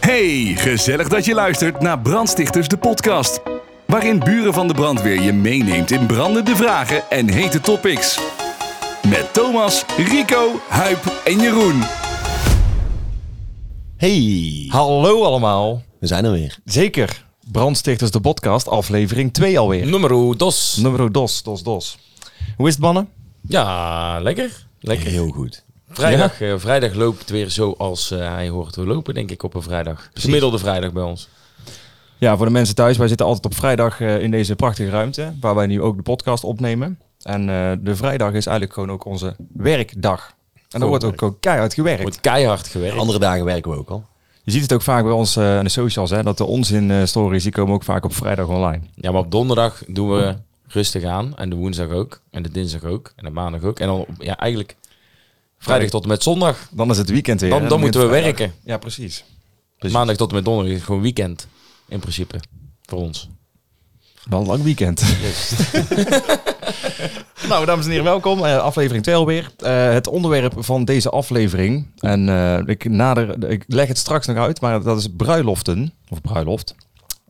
Hey, gezellig dat je luistert naar Brandstichters de podcast. Waarin buren van de brandweer je meeneemt in brandende vragen en hete topics. Met Thomas, Rico, Huip en Jeroen. Hey, Hallo allemaal. we zijn er weer. Zeker. Brandstichters de podcast, aflevering 2 alweer. Nummer dos. Nummer dos, dos, dos. Hoe is het mannen? Ja, lekker. Lekker. Heel goed. Vrijdag, eh, vrijdag loopt weer zoals eh, hij hoort te lopen, denk ik, op een vrijdag. Gemiddelde vrijdag bij ons. Ja, voor de mensen thuis, wij zitten altijd op vrijdag eh, in deze prachtige ruimte, waar wij nu ook de podcast opnemen. En eh, de vrijdag is eigenlijk gewoon ook onze werkdag. En er wordt ook gewoon keihard gewerkt. Wordt keihard gewerkt. Andere dagen werken we ook al. Je ziet het ook vaak bij ons eh, in de socials, hè, dat de onzin-stories, die komen ook vaak op vrijdag online. Ja, maar op donderdag doen we rustig aan. En de woensdag ook. En de dinsdag ook. En de maandag ook. En dan op- ja, eigenlijk vrijdag tot en met zondag. Dan is het weekend weer. Dan, hè, dan moeten we begint vrijdag. werken. Ja, precies. Maandag tot en met donderdag is gewoon weekend. In principe. Voor ons. Wel een lang weekend. nou, dames en heren, welkom. Eh, aflevering 2 alweer. Eh, het onderwerp van deze aflevering. En eh, ik, nader, ik leg het straks nog uit, maar dat is bruiloften. Of bruiloft.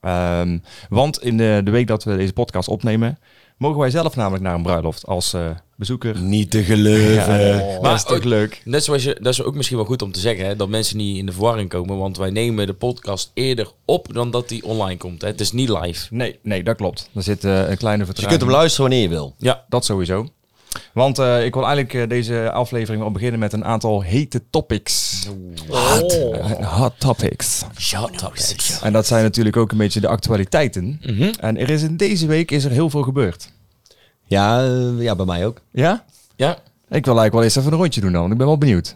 Ehm, want in de, de week dat we deze podcast opnemen, mogen wij zelf namelijk naar een bruiloft als eh, bezoeker. Niet te geloven. maar dat is toch ook- leuk. Net zoals je, dat is ook misschien wel goed om te zeggen, hè, dat mensen niet in de verwarring komen. Want wij nemen de podcast eerder op dan dat die online komt. Hè. Het is niet live. Nee, nee, dat klopt. Er zit eh, een kleine Dus je vertraging. kunt hem luisteren wanneer je wil. Ja, Dat sowieso. Want eh, ik wil eigenlijk eh, deze aflevering wel beginnen met een aantal hete topics. Hot, Eh, hot topics. Shut up. Sid. En dat zijn natuurlijk ook een beetje de actualiteiten. En er is in deze week is er heel veel gebeurd. Ja, eh, ja bij mij ook. Ja? Ja, Ik wil eigenlijk wel eens even een rondje doen dan, want ik ben wel benieuwd.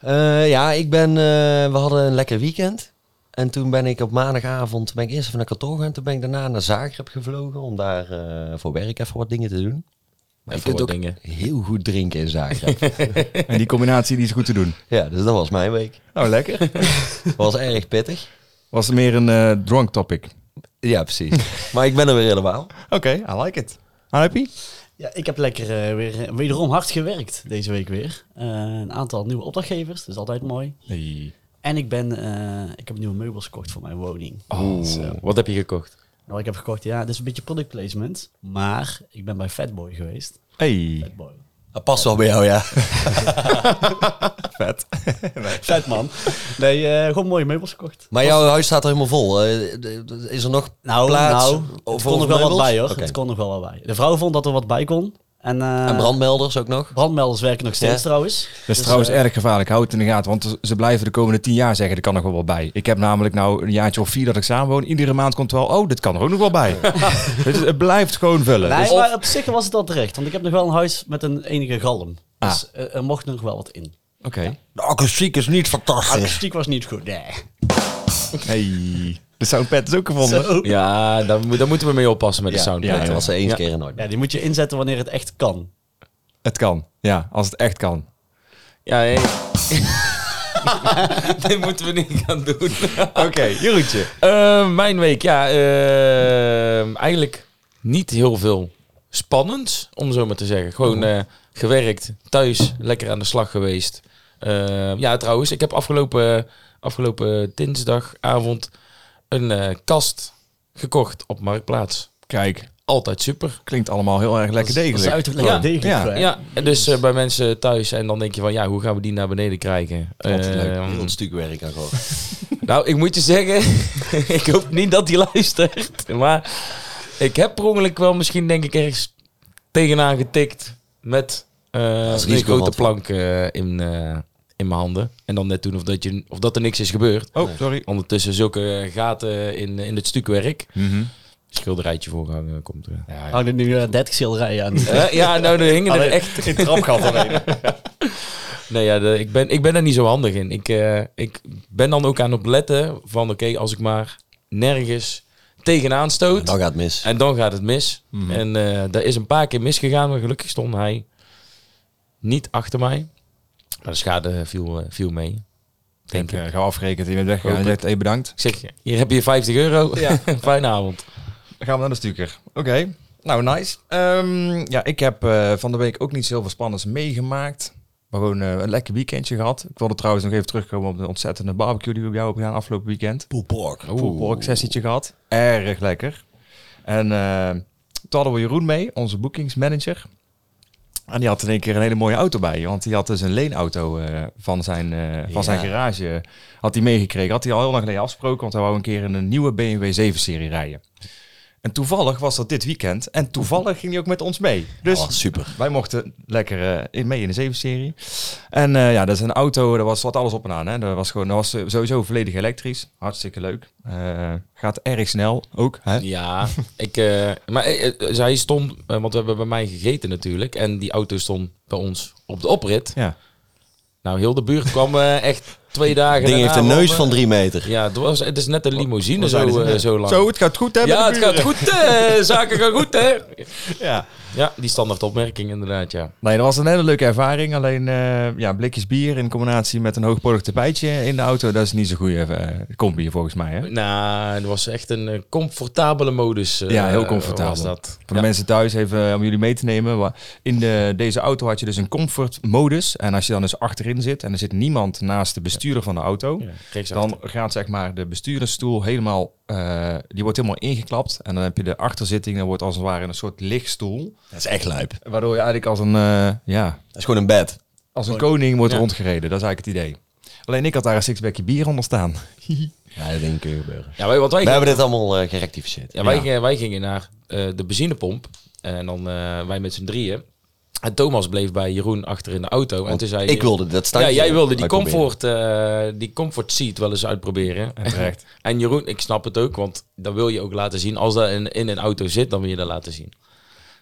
Eh, ja, ik ben, eh, we hadden een lekker weekend. En toen ben ik op maandagavond, ben ik eerst even naar kantoor gegaan. Toen ben ik daarna naar Zagreb gevlogen om daar eh, voor werk even wat dingen te doen. Maar Even je kunt wat ook dingen. heel goed drinken in Zagreb. En die combinatie die is goed te doen. ja, dus dat was mijn week. Nou, lekker. was erg pittig. Was meer een eh, drunk topic. Oké, Ja, precies. maar ik ben er weer helemaal. I like it. Happy? Ja, ik heb lekker eh, weer eh, wederom hard gewerkt deze week weer. Eh, een aantal nieuwe opdrachtgevers, dat is altijd mooi. En ik, ben, eh, ik heb nieuwe meubels gekocht voor mijn woning. Oh. Zo. Wat heb je gekocht? Nou, ik heb gekocht, ja, dit is een beetje product placement. Maar ik ben bij Fatboy geweest. Hey. Fatboy. Dat past wel bij jou, ja. Fatman. Nee, eh, gewoon mooie meubels gekocht. Maar jouw huis staat er helemaal vol. Eh, d- d- is er nog Nou, plaats? nou het voor kon er wel wat meubels? bij hoor. Oké. Het kon er wel wat bij. De vrouw vond dat er wat bij kon. En, eh, En brandmelders ook nog? brandmelders werken nog steeds Ja. trouwens. Dat is trouwens erg gevaarlijk. Houd het in de gaten. Want ze blijven de komende tien jaar zeggen, er kan nog wel wat bij. Ik heb namelijk nou een jaartje of vier dat ik samenwoon. Iedere maand komt wel, oh, dit kan er ook nog wel bij. dus het blijft gewoon vullen. Nee, Dus- maar op zich was het al terecht. Want ik heb nog wel een huis met een enige galm. Dus Ah. eh, er mocht nog wel wat in. Oké. De akoestiek is niet fantastisch. Akoestiek was niet goed, nee. Hey. De soundpad is ook gevonden. Zo. Ja, daar, moet- daar moeten we mee oppassen met de sound. Ja, dat Ja. was ze eens Ja. keer en nooit. Ja, die moet je inzetten wanneer het echt kan. Het kan. Ja, als het echt kan. ja hey. Dit moeten we niet gaan doen. Oké, Jeroentje. Eh, mijn week, ja. eh, eigenlijk niet heel veel spannends, om zo maar te zeggen. Gewoon Oh. eh, gewerkt, thuis, lekker aan de slag geweest. Eh, ja, trouwens, ik heb afgelopen, afgelopen dinsdagavond een eh, kast gekocht op Marktplaats. Kijk, Altijd super. klinkt allemaal heel erg lekker Dat is degelijk. uiterlijk lekker Ja, degelijk. ja, hè? Ja, en dus eh, bij mensen thuis en dan denk je van, ja, hoe gaan we die naar beneden krijgen? Altijd leuk. Eh, Heel een stuk werk aan gewoon. Nou, ik moet je zeggen, ik hoop niet dat hij luistert. Maar ik heb per ongeluk wel misschien, denk ik, ergens tegenaan getikt met eh is een grote risicovol. plank eh, in, eh, in mijn handen. En dan net doen of dat, je, of dat er niks is gebeurd. Oh, sorry. Ondertussen zulke eh, gaten in, in het stukwerk. Mhm. Schilderijtje voorgang eh, komt er. Ja, Hang er nu eh, 30 schilderijen aan. ja, nou, er hingen er echt in trapgat alleen. Nee, ja, de- ik, ben, ik ben er niet zo handig in. Ik, eh, ik ben dan ook aan het letten van, oké, als ik maar nergens tegenaan stoot. Dan gaat het mis. En dan gaat het mis. Mhm. En eh, daar is een paar keer misgegaan, maar gelukkig stond hij niet achter mij. Maar de schade viel, eh, viel mee. Denk Denk, ik. eh, ga afrekenen. Je bent weg. Hoop En je zegt, hey, bedankt. Ik zeg, hier heb je 50 euro. Fijne avond. Dan gaan we naar de stuker. Oké. Nou, nice. Ehm, ja, ik heb eh, van de week ook niet zoveel spannends meegemaakt. Maar gewoon eh, een lekker weekendje gehad. Ik wilde trouwens nog even terugkomen op de ontzettende barbecue die we bij jou hebben gedaan afgelopen weekend. Poelpork. Poelpork sessietje gehad. Erg lekker. En eh, toen hadden we Jeroen mee, onze boekingsmanager. En die had in één keer een hele mooie auto bij. Want die had dus een leenauto eh, van, zijn, eh, van Ja. zijn garage. eh, Had hij meegekregen. Had hij al heel lang geleden afgesproken. Want hij wou een keer in een nieuwe BMW 7-serie rijden. En toevallig was dat dit weekend. En toevallig ging hij ook met ons mee. Dus Oh, super. wij mochten lekker eh, in mee in de 7-serie. En eh, ja, dat is een auto, daar was wat alles op en aan. Hè. Dat was gewoon, dat was eh, sowieso volledig elektrisch. Hartstikke leuk. Eh, gaat erg snel ook. Hè? Ja, ik, eh, maar eh, eh, zij stond, eh, want we hebben bij mij gegeten natuurlijk. En die auto stond bij ons op de oprit. Ja. Nou, heel de buurt kwam eh, echt twee dagen Ding heeft daarna een al, neus eh, van drie meter. Ja, het, was, het is net een limousine zo, eh, zo lang. Zo, het gaat goed hè met de ja, het buren? gaat goed. eh, zaken gaan goed, hè? Ja. Ja, die standaard opmerking inderdaad, ja. Nee, dat was een hele leuke ervaring. Alleen eh, ja, blikjes bier in combinatie met een hoogpolig tapijtje in de auto, dat is niet zo'n goede eh, combi volgens mij. Hè? Nou, het was echt een eh, comfortabele modus. eh, Ja, heel comfortabel. Was dat. Voor de mensen thuis even eh, om jullie mee te nemen. wa- In de, deze auto had je dus een comfort modus. En als je dan dus achterin zit en er zit niemand naast de bestuurder van de auto. Ja, rechtsaf. Dan gaat zeg maar de bestuurdersstoel helemaal, eh, die wordt helemaal ingeklapt. En dan heb je de achterzitting, dat wordt als het ware een soort lichtstoel. Dat is echt lijp. Waardoor je eigenlijk als een, eh, ja, Dat is gewoon een bed. als een koning wordt Ja. rondgereden. Dat is eigenlijk het idee. Alleen ik had daar een sixpackje bier onder staan. Ja, dat ding kun je gebeuren. Ja, wij- want wij We hebben dit allemaal eh, gerectificeerd. Ja, wij, Ja. Gingen, wij gingen naar eh, de benzinepomp. En dan eh, wij met z'n drieën. En Thomas bleef bij Jeroen achter in de auto. en Want toen zei ik wilde dat Ja, standje jij wilde die uitproberen. comfort, eh, die comfort seat wel eens uitproberen. En terecht. En Jeroen, ik snap het ook, want dat wil je ook laten zien. Als dat in, in een auto zit, dan wil je dat laten zien.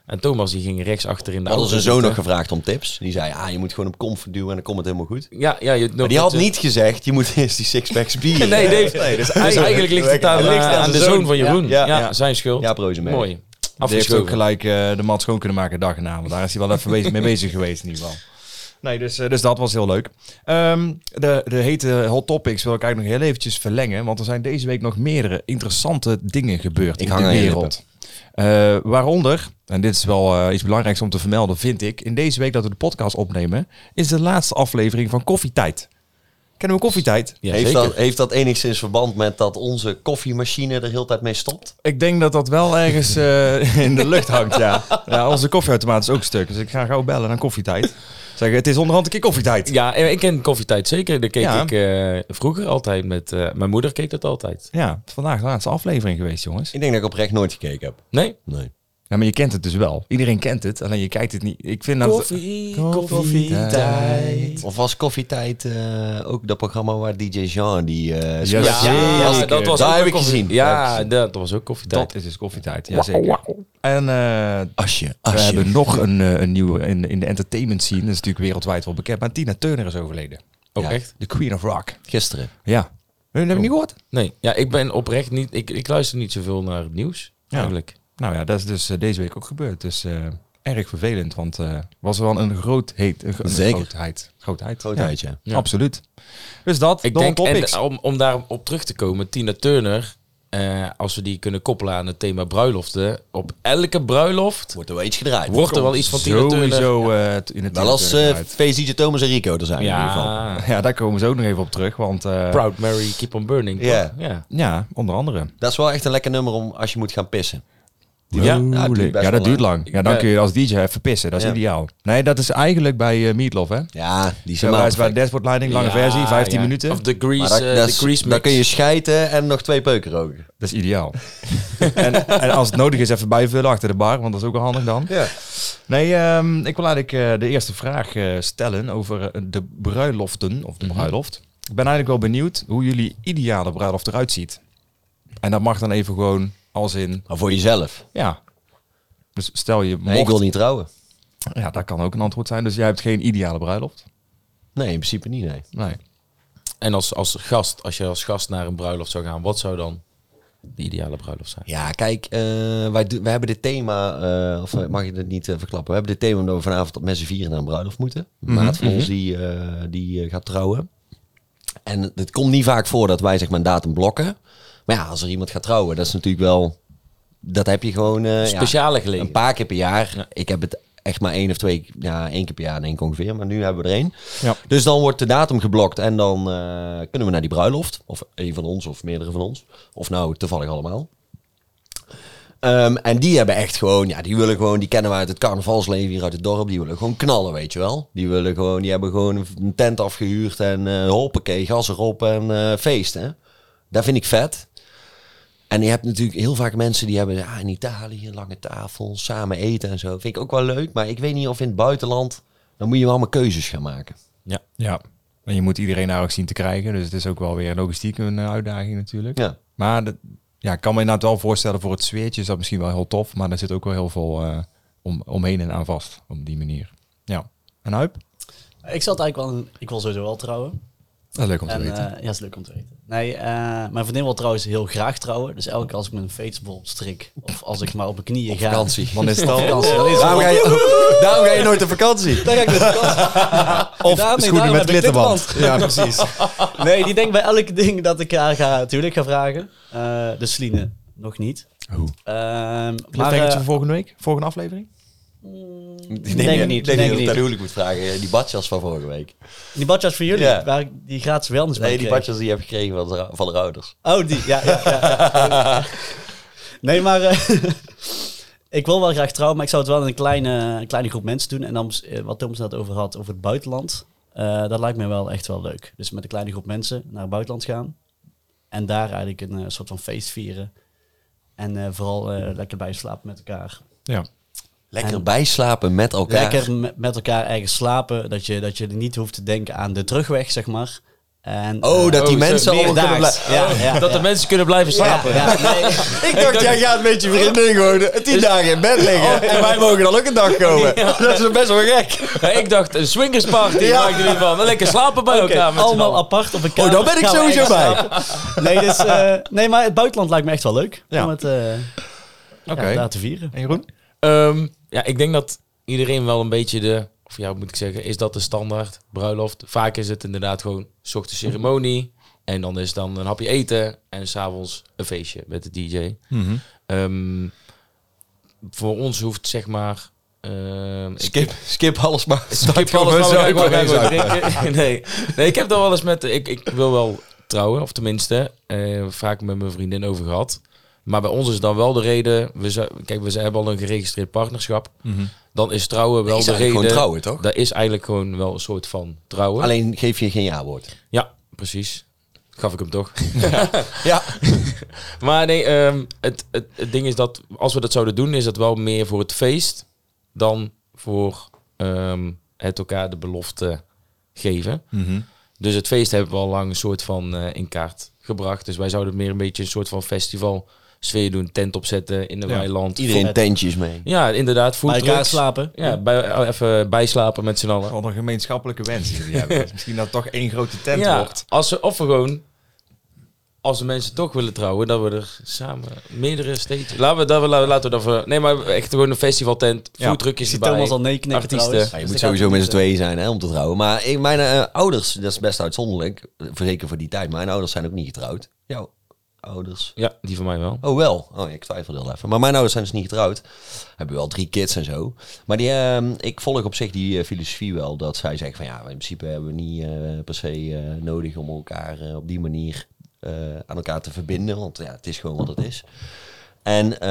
En Thomas die ging rechts achter in de We auto. hadden zijn zoon nog zitten. gevraagd om tips. Die zei, ah, je moet gewoon op comfort duwen en dan komt het helemaal goed. Ja, ja, je, Maar die had niet gezegd, je moet eerst die sixpacks bier. eh, Nee, Dave, dus Dus eigenlijk ligt het aan, eh, aan de zoon van Jeroen. Ja, Ja, ja. zijn schuld. Ja, Rozenberg. Mooi. Die heeft ook Afgeschoven. gelijk eh, de mat schoon kunnen maken dag en na. Want daar is hij wel even bezig- mee bezig geweest in ieder geval. Nee, dus, eh, dus dat was heel leuk. Ehm, de, de hete hot topics wil ik eigenlijk nog heel eventjes verlengen. Want er zijn deze week nog meerdere interessante dingen gebeurd Ik in hang de aan je wereld. Eh, waaronder, en dit is wel eh, iets belangrijks om te vermelden, vind ik. In deze week dat we de podcast opnemen, is de laatste aflevering van Koffietijd. Kennen we Koffietijd? Ja, heeft, zeker. dat, heeft dat enigszins verband met dat onze koffiemachine er heel tijd mee stopt? Ik denk dat dat wel ergens eh, in de lucht hangt, ja. ja. Onze koffieautomaat is ook stuk, dus ik ga gauw bellen naar koffietijd. Zeggen, het is onderhand een keer koffietijd. Ja, en ik ken koffietijd zeker. Daar keek Ja. ik eh, vroeger altijd met... eh, mijn moeder keek dat altijd. Ja, vandaag de laatste aflevering geweest, jongens. Ik denk dat ik oprecht nooit gekeken heb. Nee? Nee. Ja, maar je kent het dus wel. Iedereen kent het, alleen je kijkt het niet. Ik vind dat... Koffietijd. Of was Koffietijd eh, ook dat programma waar DJ Jean die... eh, Ja, speelt? zeker. dat was Daar ook heb een ik koffie- gezien. Daar heb Ja, ik dat was ook koffietijd. Dat is dus koffietijd, jazeker. En eh, Asje, we asje. hebben nog een, eh, een nieuwe in, in de entertainment scene. Dat is natuurlijk wereldwijd wel bekend. Maar Tina Turner is overleden. ook Ja. echt? De Queen of Rock. Gisteren. Ja. Heb je dat niet gehoord? Nee. Ja, ik ben oprecht niet... Ik, ik luister niet zoveel naar het nieuws, Ja. eigenlijk. Nou ja, dat is dus eh, deze week ook gebeurd. Dus eh, erg vervelend, want eh was wel een grootheid. Een gro- Zeker. grootheid. Grootheid. Grootheid, ja. Ja. Absoluut. Dus dat, Ik de denk, topics. en om, om daarop terug te komen, Tina Turner... eh, als we die kunnen koppelen aan het thema bruiloften... Op elke bruiloft Wordt er wel iets gedraaid. wordt er wel iets van Tina Turner. Sowieso eh, t- in het Wel als Turner eh uit. Face DJ Thomas en Rico er zijn in ieder geval. Ja, Ja, daar komen ze ook nog even op terug, want... eh, Proud Mary, Keep on Burning. toch? Ja. ja. ja, onder andere. Dat is wel echt een lekker nummer om als je moet gaan pissen. Ja, Rolling. nou, het duurt best ja, wel dat duurt lang. Ja, dan Ja. kun je als DJ even pissen. Dat is Ja. ideaal. Nee, dat is eigenlijk bij eh Meatloaf, hè? Ja, die zijn Zo wel is bij perfect. Dashboard Lighting, lange Ja, versie, 15 ja. minuten. Of de Maar Grease, dat- eh, dat de is- Grease Dan mix. kun je schijten en nog twee peuken roken. Dat is ideaal. en, en als het nodig is, even bijvullen achter de bar, want dat is ook wel handig dan. Ja. Nee, ehm, ik wil eigenlijk eh, de eerste vraag eh, stellen over eh, de bruiloften, of de Mhm. bruiloft. Ik ben eigenlijk wel benieuwd hoe jullie ideale bruiloft eruit ziet. En dat mag dan even gewoon als in, Maar voor jezelf. ja. Dus stel je Nee, ik mocht... wil niet trouwen. Ja, dat kan ook een antwoord zijn. Dus jij hebt geen ideale bruiloft? Nee, in principe niet, nee. Nee. En als, als gast, als je als gast naar een bruiloft zou gaan, wat zou dan de ideale bruiloft zijn? Ja, kijk, eh, wij, do- wij hebben dit thema, eh, of eh, mag ik het niet eh, verklappen? We hebben dit thema omdat we vanavond op met z'n vieren naar een bruiloft moeten. Een maat van ons die, eh, die eh, gaat trouwen. En het komt niet vaak voor dat wij zeg maar een datum blokken. Maar ja, als er iemand gaat trouwen, dat is natuurlijk wel... Dat heb je gewoon... eh, ja, Speciale gelegen. Een paar keer per jaar. Ik heb het echt maar één of twee, ja, één keer per jaar en één keer ongeveer. Maar nu hebben we er één. Ja. Dus dan wordt de datum geblokt en dan eh, kunnen we naar die bruiloft. Of één van ons of meerdere van ons. Of nou, toevallig allemaal. Ehm, en die hebben echt gewoon, ja, die willen gewoon, die kennen we uit het carnavalsleven hier uit het dorp. Die willen gewoon knallen, weet je wel. Die willen gewoon, die hebben gewoon een tent afgehuurd en eh hoppakee, gas erop en eh feest, hè. Dat vind ik vet. En je hebt natuurlijk heel vaak mensen die hebben ja, in Italië lange tafel, samen eten en zo. Vind ik ook wel leuk, maar ik weet niet of in het buitenland, dan moet je wel maar keuzes gaan maken. Ja. En je moet iedereen daar ook zien te krijgen. Dus het is ook wel weer logistiek een eh, uitdaging natuurlijk. Ja. Maar dat, ja, ik kan me inderdaad wel voorstellen voor het sfeertje is dat misschien wel heel tof. Maar daar zit ook wel heel veel eh, om, omheen en aan vast. Op die manier. Ja. En Huip? Ik zat eigenlijk wel... in- ik wil sowieso wel trouwen. Dat is leuk om te En, weten. eh, ja, is leuk om te weten. Nee, eh, mijn vriendin wil trouwens heel graag trouwen. Dus elke keer als ik mijn feestbol strik... of als ik maar op mijn knieën ga... Vakantie. Dan is het al... Ah. Vakantie, dan is het Daarom ga, je, daarom ga je nooit op vakantie. Of Daarmee- schoenen met daarom heb ik dit glitterband. Ja, precies. Nee, die denkt bij elk ding dat ik haar ga, natuurlijk ga vragen. Eh dus Celine, nog niet. Hoe? Ehm, maar Maar, eh, voor volgende week? Volgende aflevering? Ik Denk niet, Ik denk denk dat niet. ik huwelijk moet vragen. Eh, Die badjas van vorige week. die badjas voor jullie, Ja. waar ik die gratis wellness bij Nee, die kreeg. badjas die je hebt gekregen van de, van de ouders. Oh, die, ja. ja, ja, ja. nee, maar eh, ik wil wel graag trouwen, maar ik zou het wel in een kleine, een kleine groep mensen doen. En dan, eh, wat Thomas net over had, over het buitenland. eh, dat lijkt me wel echt wel leuk. Dus met een kleine groep mensen naar het buitenland gaan. En daar eigenlijk een eh, soort van feest vieren. En eh, vooral eh, lekker bij slapen met elkaar. Ja. Lekker En- bijslapen met elkaar. Lekker me- met elkaar ergens slapen. Dat je, dat je niet hoeft te denken aan de terugweg, zeg maar. En, Oh, eh, dat die Oh, mensen zo, allemaal kunnen meerdaags. blijven. Oh. Ja, ja, dat de ja. mensen kunnen blijven slapen. Ja, ja, nee. Ik dacht, jij gaat met je vriendin gewoon tien dagen in bed liggen. en wij mogen dan ook een dag komen. Dat is best wel gek. Ja, ik dacht, een swingersparty Ja. maak ik er van. Lekker slapen bij Oké, elkaar met z'n allemaal allen. apart op een Oh, kamer. daar ben ik Gaan we sowieso ergens bij. slapen. Nee, dus, eh, nee, maar het buitenland lijkt me echt wel leuk. Ja. Om het eh, Oké. ja, daar te vieren. En Jeroen? Ehm, ja, ik denk dat iedereen wel een beetje de... Of ja, hoe moet ik zeggen? Is dat de standaard bruiloft? Vaak is het inderdaad gewoon 's ochtends ceremonie. En dan is dan een hapje eten. En s'avonds een feestje met de DJ. Mhm. Ehm, voor ons hoeft zeg maar... ehm, ik- Skip, skip alles maar. Skip gewoon alles, maar we zuipen, gaan gewoon geen drinken. Nee. nee, ik heb daar wel eens met... Ik, ik wil wel trouwen, of tenminste, eh, vaak met mijn vriendin over gehad. Maar bij ons is dan wel de reden... We zou- kijk, we hebben al een geregistreerd partnerschap. Dan is trouwen wel Is de eigenlijk reden... gewoon trouwen, toch? Dat is eigenlijk gewoon wel een soort van trouwen. Alleen geef je geen ja-woord. Ja, precies. Gaf ik hem toch. Ja. Maar nee, ehm, het, het, het ding is dat als we dat zouden doen, is dat wel meer voor het feest dan voor ehm, het elkaar de belofte geven. Mhm. Dus het feest hebben we al lang een soort van eh, in kaart gebracht. Dus wij zouden meer een beetje een soort van festival sfeer doen, tent opzetten in een Ja. weiland. Iedereen tentjes mee. Ja, inderdaad. Bij elkaar foodtrucks. slapen. Ja, bij, eh, even bijslapen met z'n allen. Wat een gemeenschappelijke wens die jullie hebben. Misschien dat het toch één grote tent wordt. Als we, of we gewoon, als de mensen toch willen trouwen, dat we er samen meerdere steeds. Laten we dat we laten we dat we. Nee, maar echt gewoon een festivaltent, Ja. Ik foodtruckjes zie erbij. Thomas al nee knikken artiesten. trouwens. Ja, je Dus moet dat sowieso gaat met z'n niet, tweeën zijn hè, om te trouwen. Maar ik, mijn eh, ouders, dat is best uitzonderlijk. eh, Zeker voor die tijd. Mijn ouders zijn ook niet getrouwd. Jouw ouders. Ja, die van mij wel. Oh, wel. Oh, ik twijfelde al even. Maar mijn ouders zijn dus niet getrouwd. Hebben wel drie kids en zo. Maar die, ehm, ik volg op zich die eh, filosofie wel. Dat zij zeggen van ja, in principe hebben we niet eh, per se eh, nodig om elkaar eh, op die manier eh, aan elkaar te verbinden. Want ja, het is gewoon wat het is. En eh,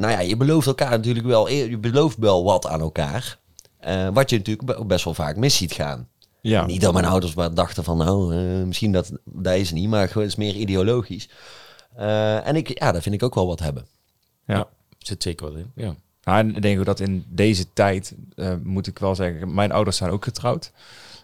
nou ja, je belooft elkaar natuurlijk wel. eh, Je belooft wel wat aan elkaar. Eh, wat je natuurlijk be- best wel vaak mis ziet gaan. Ja. Niet dat mijn ouders maar dachten van, nou, eh, misschien dat, dat is het niet, maar gewoon het is meer ideologisch. Eh, en ik, ja, daar vind ik ook wel wat hebben. Ja. Zit zeker wat in. Ja. Ja, en Nou, ik denk ook dat in deze tijd, eh, moet ik wel zeggen, mijn ouders zijn ook getrouwd.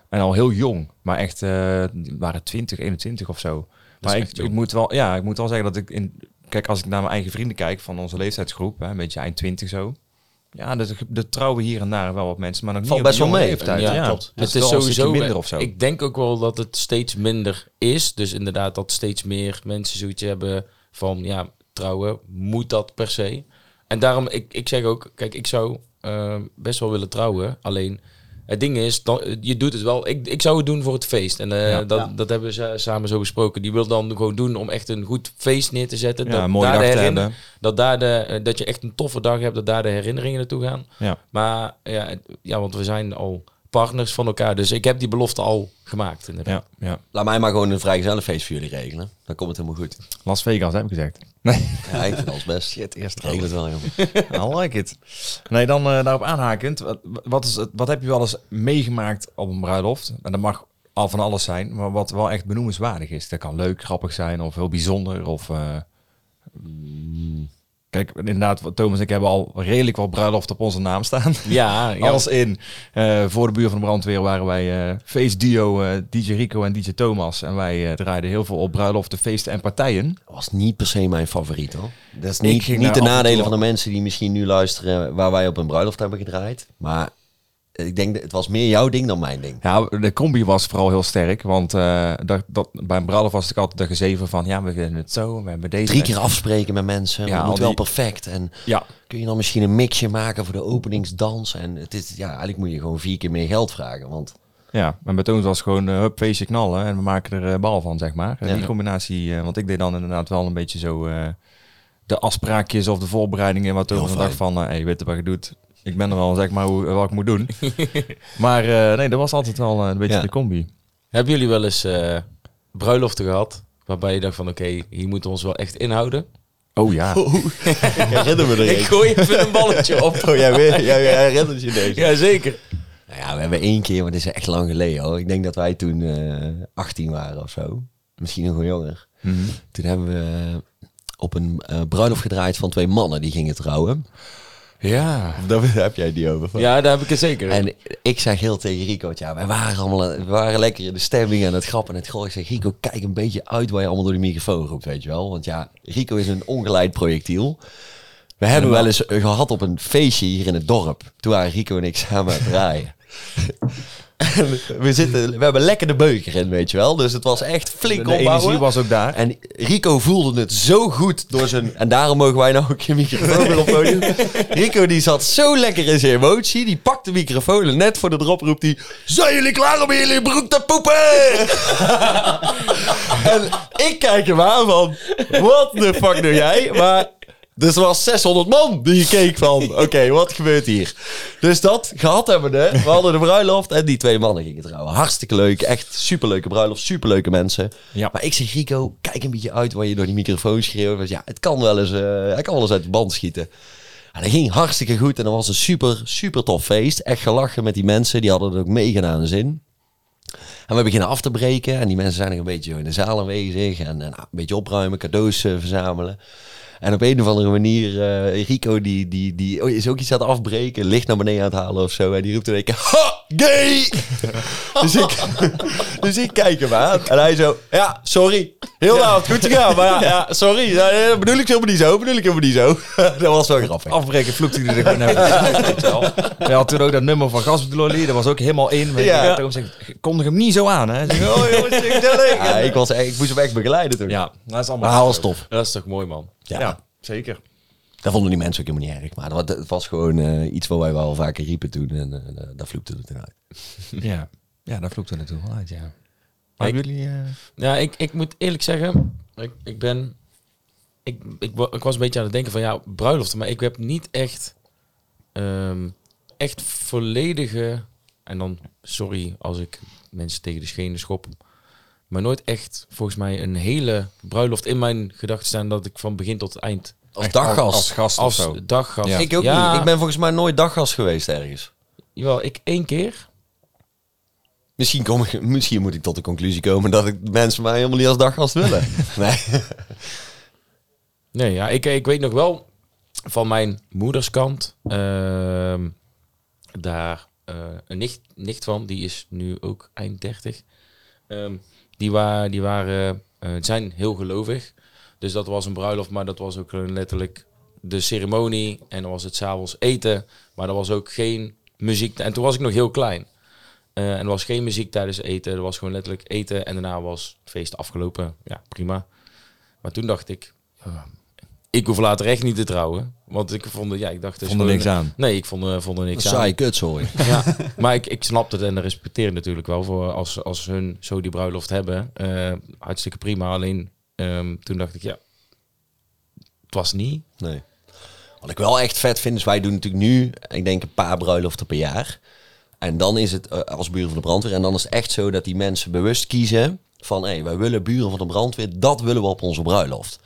En al heel jong, maar echt, eh, die waren 20, 21 of zo. Maar is ik, echt jong. ik moet wel, ja, ik moet wel zeggen dat ik in, kijk, als ik naar mijn eigen vrienden kijk van onze leeftijdsgroep, hè, een beetje eind 20 zo. Ja, dus er trouwen hier en daar wel wat mensen, maar nog Valt niet op best wel die jonge mee. Leeftijd. Ja, klopt. Het is, wel sowieso minder of zo. Ik denk ook wel dat het steeds minder is. Dus inderdaad dat steeds meer mensen zoiets hebben van ja, trouwen moet dat per ehm, se. En daarom ik, ik zeg ook, kijk, ik zou eh, best wel willen trouwen, alleen Het ding is, dan, je doet het wel. Ik, ik zou het doen voor het feest. En eh, dat, Ja. dat hebben we sa- samen zo besproken. Die wil dan gewoon doen om echt een goed feest neer te zetten. Ja, dat, een mooie daar dag de te herinner- hebben. Dat, daar de, eh, dat je echt een toffe dag hebt. Dat daar de herinneringen naartoe gaan. Ja. Maar ja, het- ja want we zijn al partners van elkaar. Dus ik heb die belofte al gemaakt. inderdaad. Ja, ja. Laat mij maar gewoon een vrijgezellenfeest voor jullie regelen. Dan komt het helemaal goed. Las Vegas heb ik gezegd. Nee. Ja, ik vind alles best. Shit, eerst Regel het wel, jongen. I like it. Nee, dan eh, daarop aanhakend. Wat, wat, is het, wat heb je wel eens meegemaakt op een bruiloft? En dat mag al van alles zijn, maar wat wel echt benoemenswaardig is. Dat kan leuk, grappig zijn of heel bijzonder. Of, eh, mm, kijk, inderdaad, wat Thomas en ik hebben al redelijk wat bruiloft op onze naam staan. Ja, ja. Alles in. Eh, voor de buur van de brandweer waren wij eh feestduo eh, DJ Rico en DJ Thomas. En wij eh, draaiden heel veel op bruiloften, feesten en partijen. Dat was niet per se mijn favoriet hoor. Dat is niet, ging niet daar de af en toe nadelen wel- van de mensen die misschien nu luisteren waar wij op een bruiloft hebben gedraaid. Maar ik denk dat het was meer jouw ding dan mijn ding. Ja, de combi was vooral heel sterk. Want eh, dat, dat, bij een bruiloft was ik altijd de gezeven van... ja, we doen het zo, we hebben deze... Drie keer afspreken met mensen. Ja, Ja, het al moet die- wel perfect. En Ja, kun je dan misschien een mixje maken voor de openingsdans? En het is, ja, eigenlijk moet je gewoon vier keer meer geld vragen. Want ja. En bij Toons was het gewoon... eh, hup, feestje knallen en we maken er eh, bal van, zeg maar. En Ja. Die combinatie... eh, want ik deed dan inderdaad wel een beetje zo... eh, de afspraakjes of de voorbereidingen... wat Toons Heel dacht van... eh, hey, weet je wat je doet? Ik ben er wel, zeg maar, hoe, wat ik moet doen. maar eh, nee, dat was altijd wel eh, een beetje Ja. de combi. Hebben jullie wel eens eh, bruiloften gehad? Waarbij je dacht van oké, hier moeten we ons wel echt inhouden. Oh ja. herinner me Ik gooi even een balletje op. Oh, jij, weet- jij, jij herinnert je deze. Jazeker. Nou ja, we hebben één keer, maar dit is echt lang geleden hoor. Ik denk dat wij toen eh 18 waren of zo. Misschien nog wel jonger. Mhm. Toen hebben we op een eh, bruiloft gedraaid van twee mannen die gingen trouwen. Ja. Daar heb jij die over. Ja, daar heb ik het zeker. En ik zeg heel tegen Rico, ja, wij waren allemaal we waren lekker in de stemming en het grappen en het gooi. Ik zeg, Rico, kijk een beetje uit waar je allemaal door die microfoon roept, weet je wel. Want ja, Rico is een ongeleid projectiel. We hebben wel eens eh, gehad op een feestje hier in het dorp. Toen waren Rico en ik samen aan het draaien. En we, zitten, we hebben lekker de beuker in, weet je wel. Dus het was echt flink De energie opbouwen. was ook daar. En Rico voelde het zo goed door zijn... En daarom mogen wij nou ook je microfoon weer op podium. Rico die zat zo lekker in zijn emotie. Die pakt de microfoon en net voor de drop roept hij... Zijn jullie klaar om in jullie broek te poepen? en ik kijk hem aan van... Wat de fuck doe jij? Maar... Dus er was 600 man die keek van... Oké, wat gebeurt hier? Dus dat gehad hebben we. We hadden de bruiloft en die twee mannen gingen trouwen. Hartstikke leuk. Echt superleuke bruiloft. Superleuke mensen. Ja. Maar ik zeg, Rico, kijk een beetje uit waar je door die microfoon schreeuwt. Want ja, het kan wel eens, eh, hij kan wel eens uit de band schieten. En dat ging hartstikke goed. En dat was een super, super tof feest. Echt gelachen met die mensen. Die hadden het ook mega naar hun zin. En we beginnen af te breken. En die mensen zijn nog een beetje in de zaal aanwezig. En, en nou, een beetje opruimen, cadeaus eh, verzamelen. En op een of andere manier, eh, Rico die, die, die oh, is ook iets aan het afbreken. Licht naar beneden aan het halen of zo. En die roept in één keer, ha, gay! dus, ik, dus ik kijk hem aan. En hij zo, ja, sorry. Heel laat, goed gegaan. Maar ja, ja, sorry. Ja, ja, bedoel ik helemaal niet zo, bedoel ik helemaal niet zo. dat was wel grappig. afbreken vloekte hij er gewoon uit. Weet je wel. Hij had toen ook dat nummer van Gasbedololi, dat was ook helemaal in. Weet je. Ja. Daarom zeg ik, kondig hem niet zo aan. Hè. Zeg, oh, jongens, ik dat leuk. Ja, ik, was, echt- ik moest hem echt begeleiden toen. Ja, dat is allemaal Maar hij was tof. Dat is toch mooi, man. Ja. zeker. Dat vonden die mensen ook helemaal niet erg. Maar dat- het was gewoon eh, iets wat wij wel vaker riepen toen. En eh, daar vloekte het eruit. Ja, ja daar vloekte het toen wel uit, ja. Maar Ik- jullie... eh, Ja, ik, ik moet eerlijk zeggen, ik, ik ben... Ik, ik, wa- ik was een beetje aan het denken van ja, bruiloften. Maar ik heb niet echt... ehm, echt volledige... En dan, sorry als ik mensen tegen de schenen schop. Maar nooit echt, volgens mij, een hele bruiloft in mijn gedachten staan... dat ik van begin tot eind Als echt daggast. Als gast als of zo. daggast... Ja. Ik ook Ja, niet. Ik ben volgens mij nooit daggast geweest ergens. Jawel, ik één keer. Misschien, kom ik, misschien moet ik tot de conclusie komen dat ik mensen mij helemaal niet als daggast willen. nee. Nee, ja, ik, ik weet nog wel van mijn moederskant. ehm, daar eh, een nicht, nicht van, die is nu ook eind 30. Ehm, die, wa die waren, eh, zijn heel gelovig. Dus dat was een bruiloft, maar dat was ook gewoon letterlijk de ceremonie. En dan was het s'avonds eten, maar er was ook geen muziek. En toen was ik nog heel klein. Eh, en er was geen muziek tijdens eten. Er was gewoon letterlijk eten. En daarna was het feest afgelopen. Ja, prima. Maar toen dacht ik, eh, ik hoef later echt niet te trouwen. Want ik vond, het- ja, ik dacht... het is Vond er gewoon- niks aan. Nee, ik vond, eh, vond er niks aan. Saai kutzooi. Ja, maar ik, ik snap het en dat respecteer ik natuurlijk wel voor als, als hun zo die bruiloft hebben. Eh, hartstikke prima. Alleen ehm, toen dacht ik, ja, het was niet. Nee. Wat ik wel echt vet vind, is wij doen natuurlijk nu, ik denk een paar bruiloften per jaar. En dan is het eh, als buren van de brandweer. En dan is het echt zo dat die mensen bewust kiezen van, hé, wij willen buren van de brandweer, dat willen we op onze bruiloft.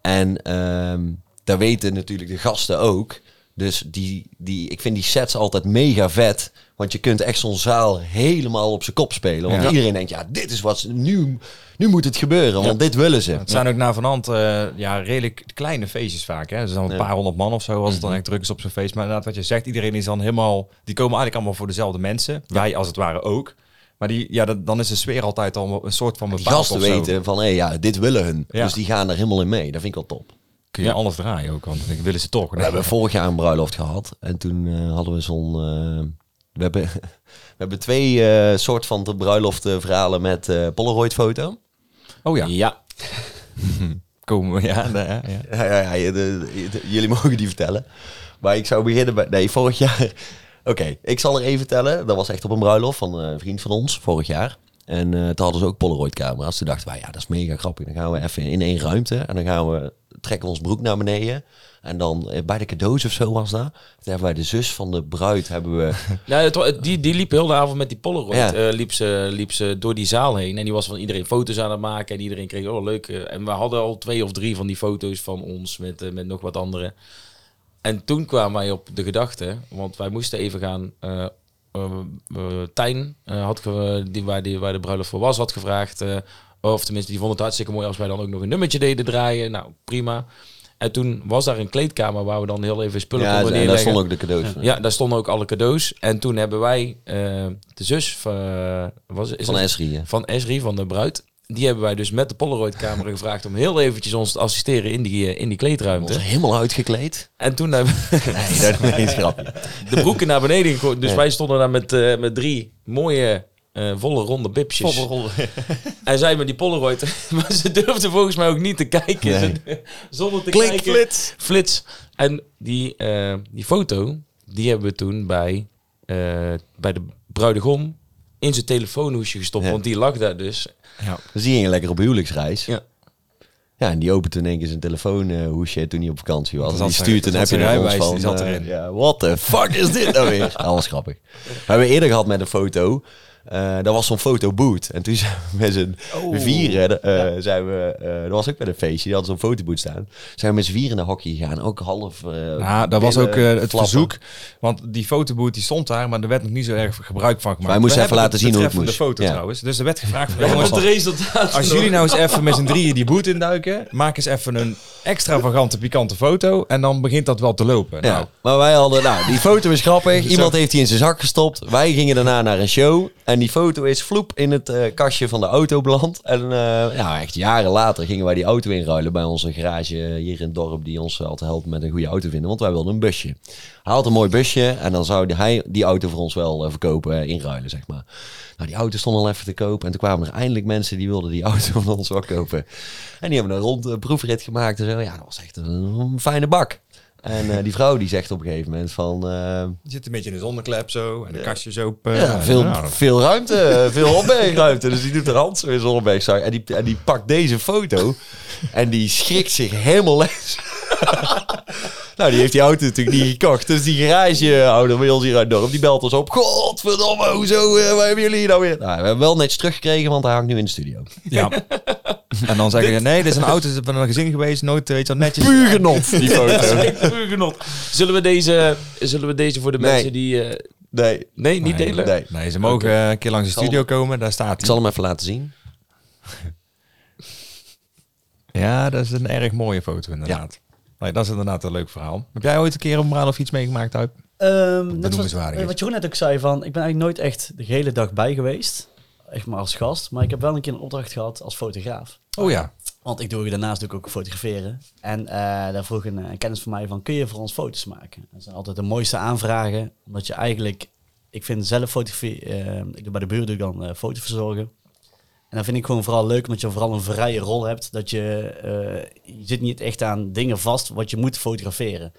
En ehm daar weten natuurlijk de gasten ook. Dus die, die, ik vind die sets altijd mega vet. Want je kunt echt zo'n zaal helemaal op zijn kop spelen. Want Ja. iedereen denkt, ja, dit is wat ze- nu, nu moet het gebeuren. Want dit willen ze. Het zijn ook na van hand eh, ja, redelijk kleine feestjes vaak. Hè? Dus dan een Ja. paar honderd man of zo, als het dan echt druk is op zo'n feest. Maar inderdaad, wat je zegt, iedereen is dan helemaal... Die komen eigenlijk allemaal voor dezelfde mensen. Wij als het ware ook. Maar die, ja, dat, dan is de sfeer altijd al een soort van Die bepaald gasten of zo. weten van, hé, ja, dit willen hun. Ja. Dus die gaan er helemaal in mee. Dat vind ik wel top. Kun je anders draaien ook, want dan willen ze toch. We hebben vorig jaar een bruiloft gehad. En toen eh, hadden we zo'n... eh, we, hebben, we hebben twee eh, soort van de bruiloft eh, verhalen met eh, Polaroid-foto. Oh ja, Ja, komen we. Ja, nee, ja, ja. Ja, ja, ja, je- de- de- jullie mogen die vertellen. Maar ik zou beginnen bij... Nee, vorig jaar... Oké, ik zal er even vertellen. Dat was echt op een bruiloft van eh, een vriend van ons, vorig jaar. En eh toen hadden ze ook Polaroid-camera's. Toen dachten wij, ja, dat is mega grappig. Dan gaan we even in één ruimte en dan gaan we trekken we ons broek naar beneden. En dan eh, bij de cadeaus of zo was dat. Toen hebben wij de zus van de bruid, hebben we... nou, het wa- het- die, die liep heel de avond met die Polaroid. Ja. eh, liep, ze, liep ze door die zaal heen. En die was van iedereen foto's aan het maken. En iedereen kreeg, oh leuk. eh, En we hadden al twee of drie van die foto's van ons met, eh, met nog wat anderen. En toen kwamen wij op de gedachte, want wij moesten even gaan. eh, eh, eh, Tijn, eh, had ge- die, waar, die, waar de bruiloft voor was, had gevraagd. eh, of tenminste, die vond het hartstikke mooi als wij dan ook nog een nummertje deden draaien. Nou, prima. En toen was daar een kleedkamer waar we dan heel even spullen Ja, konden en daar neerleggen. stonden ook de cadeaus van. Ja, daar stonden ook alle cadeaus. En toen hebben wij eh, de zus van, eh, was, is Van het? Esri, eh. ja. van Esri, van de bruid. Die hebben wij dus met de Polaroid-camera gevraagd om heel eventjes ons te assisteren in die, eh, in die Was kleedruimte. helemaal uitgekleed. En toen hebben we Nee, dat is een grapje. de broeken naar beneden gegooid. Dus wij stonden daar met, eh, met drie mooie, eh, volle ronde bipsjes. En zij met die Polaroid. maar ze durfde volgens mij ook niet te kijken. Ze- Zonder te kijken. flits. Flits. En die, eh, die foto, die hebben we toen bij, eh, bij de bruidegom in zijn telefoonhoesje gestopt. Ja. Want die lag daar dus. Dan zie je je lekker op huwelijksreis. Ja. Ja, en die opent toen in één keer zijn telefoonhoesje toen hij op vakantie was. Dat En die zat stuurt er- een dat appje zat naar zijn ons van... rijbewijs, die zat eh, erin. ja, what the fuck is dit nou weer? Dat was grappig. We hebben eerder gehad met een foto. eh dat was zo'n fotoboot. En toen zijn we met z'n Oh. vieren... eh, zijn we, eh, dat was ook bij een feestje. Die hadden zo'n fotoboot staan. Zijn we met z'n vieren naar hockey gegaan. Ook half... eh, Nou, dat was ook eh, billen het flappen. verzoek. Want die fotoboot die stond daar, maar er werd nog niet zo erg gebruik van gemaakt. Wij moesten We even hebben laten zien hoe het betreffende moest. foto Ja. trouwens. Dus er werd gevraagd van, Ja, jongens, want de resultaten. als jullie nou eens even met z'n drieën die boot induiken, maak eens even een extravagante, pikante foto. En dan begint dat wel te lopen. Ja, Nou, maar wij hadden, nou, die foto is grappig. Iemand heeft die in zijn zak gestopt. Wij gingen daarna naar een show. En die foto is vloep in het eh, kastje van de auto beland. En eh, ja, echt jaren later gingen wij die auto inruilen bij onze garage hier in het dorp. Die ons altijd helpt met een goede auto vinden. Want wij wilden een busje. Hij had een mooi busje. En dan zou die- hij die auto voor ons wel eh, verkopen, eh, inruilen, zeg maar. Nou, die auto stond al even te koop. En toen kwamen er eindelijk mensen die wilden die auto van ons wel kopen. En die hebben een rond eh, proefrit gemaakt en zo. Ja, dat was echt een, een fijne bak. En eh, die vrouw die zegt op een gegeven moment van... eh, je zit een beetje in de zonneklep zo, en de kastjes open. ja, veel, Nou, veel ruimte, eh, veel opbergruimte. Dus die doet haar hand zo in zijn opbergzak. En die, en die pakt deze foto en die schrikt zich helemaal les. nou, die heeft die auto natuurlijk niet gekocht. Dus die garagehouder bij ons hier uit het dorp, die belt ons op. Godverdomme, hoezo, eh, waar hebben jullie hier nou weer? Nou, we hebben hem wel netjes teruggekregen, want hij hangt nu in de studio. ja. en dan zeggen ze, nee, dit is een auto, dit is van een gezin geweest, nooit weet je wel, netjes. Puur genot, die foto. Puur genot. Zullen we deze, zullen we deze voor de Nee. mensen die... eh, Nee. nee, niet delen? Nee. Nee, ze mogen eh, een keer langs de studio komen, daar staat Ik hij. zal hem even laten zien. Ja, dat is een erg mooie foto inderdaad. Nee, dat is inderdaad een leuk verhaal. Heb jij ooit een keer op een bruiloft iets meegemaakt, Huip? Ehm, net wat, benoemenswaardig is. wat Jeroen net ook zei, van, ik ben eigenlijk nooit echt de hele dag bij geweest. Echt maar als gast. Maar ik heb wel een keer een opdracht gehad als fotograaf. Oh ja. Want ik doe daarnaast doe ik ook fotograferen. En eh, daar vroeg een, eh, kennis van mij van, kun je voor ons foto's maken? Dat zijn altijd de mooiste aanvragen. Omdat je eigenlijk, ik vind zelf fotografie, eh, ik doe bij de buurt doe ik dan eh foto verzorgen. En dat vind ik gewoon vooral leuk, omdat je vooral een vrije rol hebt. Dat je, eh, je zit niet echt aan dingen vast wat je moet fotograferen.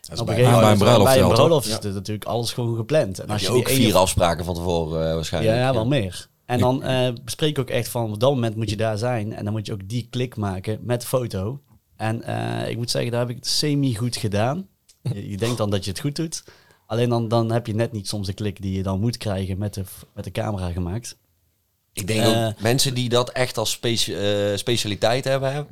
Dat Op is een bij- gegeven bij moment een bruiloft bij een wel, toch? bruiloft Ja. is het natuurlijk alles gewoon gepland. En Als als je, je ook die ene- vier afspraken van tevoren eh, waarschijnlijk. ja, ja, wel meer. En dan eh, bespreek ik ook echt van op dat moment moet je daar zijn. En dan moet je ook die klik maken met de foto. En eh, ik moet zeggen, daar heb ik het semi-goed gedaan. Je, je denkt dan dat je het goed doet. Alleen dan, dan heb je net niet soms de klik die je dan moet krijgen met de, f- met de camera gemaakt. Ik denk Eh. ook mensen die dat echt als speci- eh, specialiteit hebben, hè?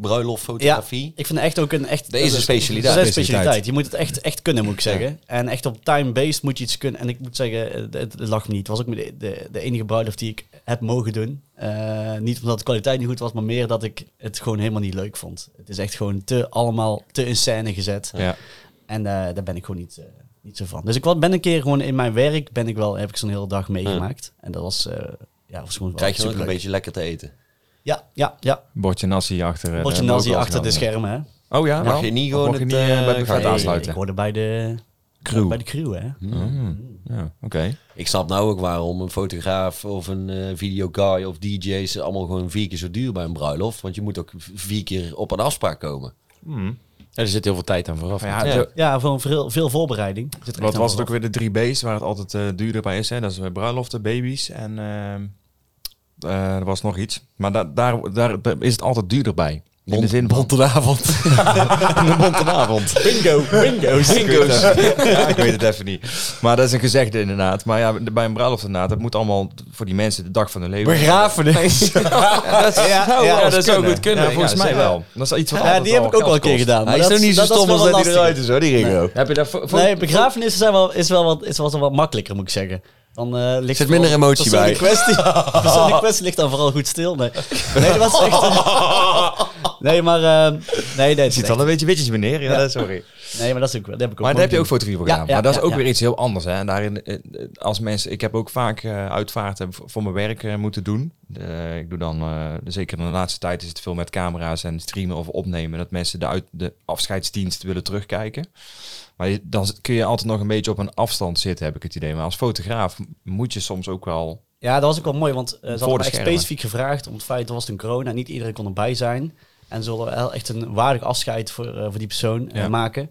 bruiloft, fotografie. Ik vind echt ook een echt... Dat is een specialiteit. Dat is een Specialiteit. specialiteit. Je moet het echt, echt kunnen, moet ik zeggen. En echt op time-based moet je iets kunnen. En ik moet zeggen, eh, het, het lag me niet. Het was ook de, de, de enige bruiloft die ik heb mogen doen. Eh, niet omdat de kwaliteit niet goed was, maar meer dat ik het gewoon helemaal niet leuk vond. Het is echt gewoon te allemaal te in scène gezet. Ja. En eh, daar ben ik gewoon niet, eh, niet zo van. Dus ik wa- ben een keer gewoon in mijn werk, ben ik wel, heb ik zo'n hele dag meegemaakt. En dat was... eh, ja, was gewoon wel Krijg je dan ook een superleuk. beetje lekker te eten. Ja, ja, ja. Bordje nasi achter. eh, Word je hebben we nazi ook wel achter de gedaan. schermen, hè? Oh ja? Mag wel? je niet Of gewoon mag je het, niet, eh, bij het eh, buffet nee, aansluiten? Ik hoorde bij de Crew. Bij de crew, hè? Mm. Ja, oké. Ik snap nou ook waarom een fotograaf of een eh, videoguy of DJ's allemaal gewoon vier keer zo duur bij een bruiloft. Want je moet ook v- vier keer op een afspraak komen. er zit heel veel tijd aan vooraf. Maar ja, Ja. zo- Ja, gewoon veel, veel voorbereiding. Zit er Wat echt aan was het ook vooraf. weer de drie B's waar het altijd eh, duurder bij is? Hè? Dat is bij bruiloften, baby's en ehm, eh, er was nog iets. Maar da- daar, daar is het altijd duurder bij. In de zin van avond. een bonte avond. Bingo, bingo's. ja, ik weet het even niet. Maar dat is een gezegde inderdaad. Maar ja, bij een bruiloft inderdaad, dat moet allemaal voor die mensen de dag van hun leven. Begrafenis. dat zou wel ja, dat eens zou goed kunnen. Ja, volgens Ja, mij ze- wel. Dat is iets wat Ja, altijd die heb wel ik ook al geld een kost. keer gedaan. maar dat is- dat is wel een lastige. is hoor, die Ringo. Heb je daar voor, voor- Nee, begrafenissen zijn wel, is wel wat, is wel wat makkelijker, moet ik zeggen. Dan eh ligt Zit minder vooral- emotie bij. Persoonlijke kwestie, persoonlijke kwestie ligt dan vooral goed stil. Nee, nee dat was echt... eh, nee, maar... eh, nee, nee, het is Zit al echt- een beetje witjes meneer. Ja, dat- sorry. nee, maar dat is ook wel... dat heb ik ook Maar daar mogen heb je ook doen. fotografie voor Ja, gedaan. ja, maar dat ja, is ook ja. weer iets heel anders. Hè. En daarin, eh, eh, als mensen, ik heb ook vaak eh, uitvaarten v- voor mijn werk eh, moeten doen. Eh, ik doe dan, eh, zeker in de laatste tijd is het veel met camera's en streamen of opnemen. Dat mensen de, uit, de afscheidsdienst willen terugkijken. Maar je- dan z- kun je altijd nog een beetje op een afstand zitten, heb ik het idee. Maar als fotograaf m- moet je soms ook wel... Ja, dat was ook wel mooi, want eh ze Voor hadden de me echt schermen. specifiek gevraagd om het feit dat was het een corona, niet iedereen kon erbij zijn. En ze wilden wel echt een waardig afscheid voor, eh, voor die persoon eh, Ja. maken.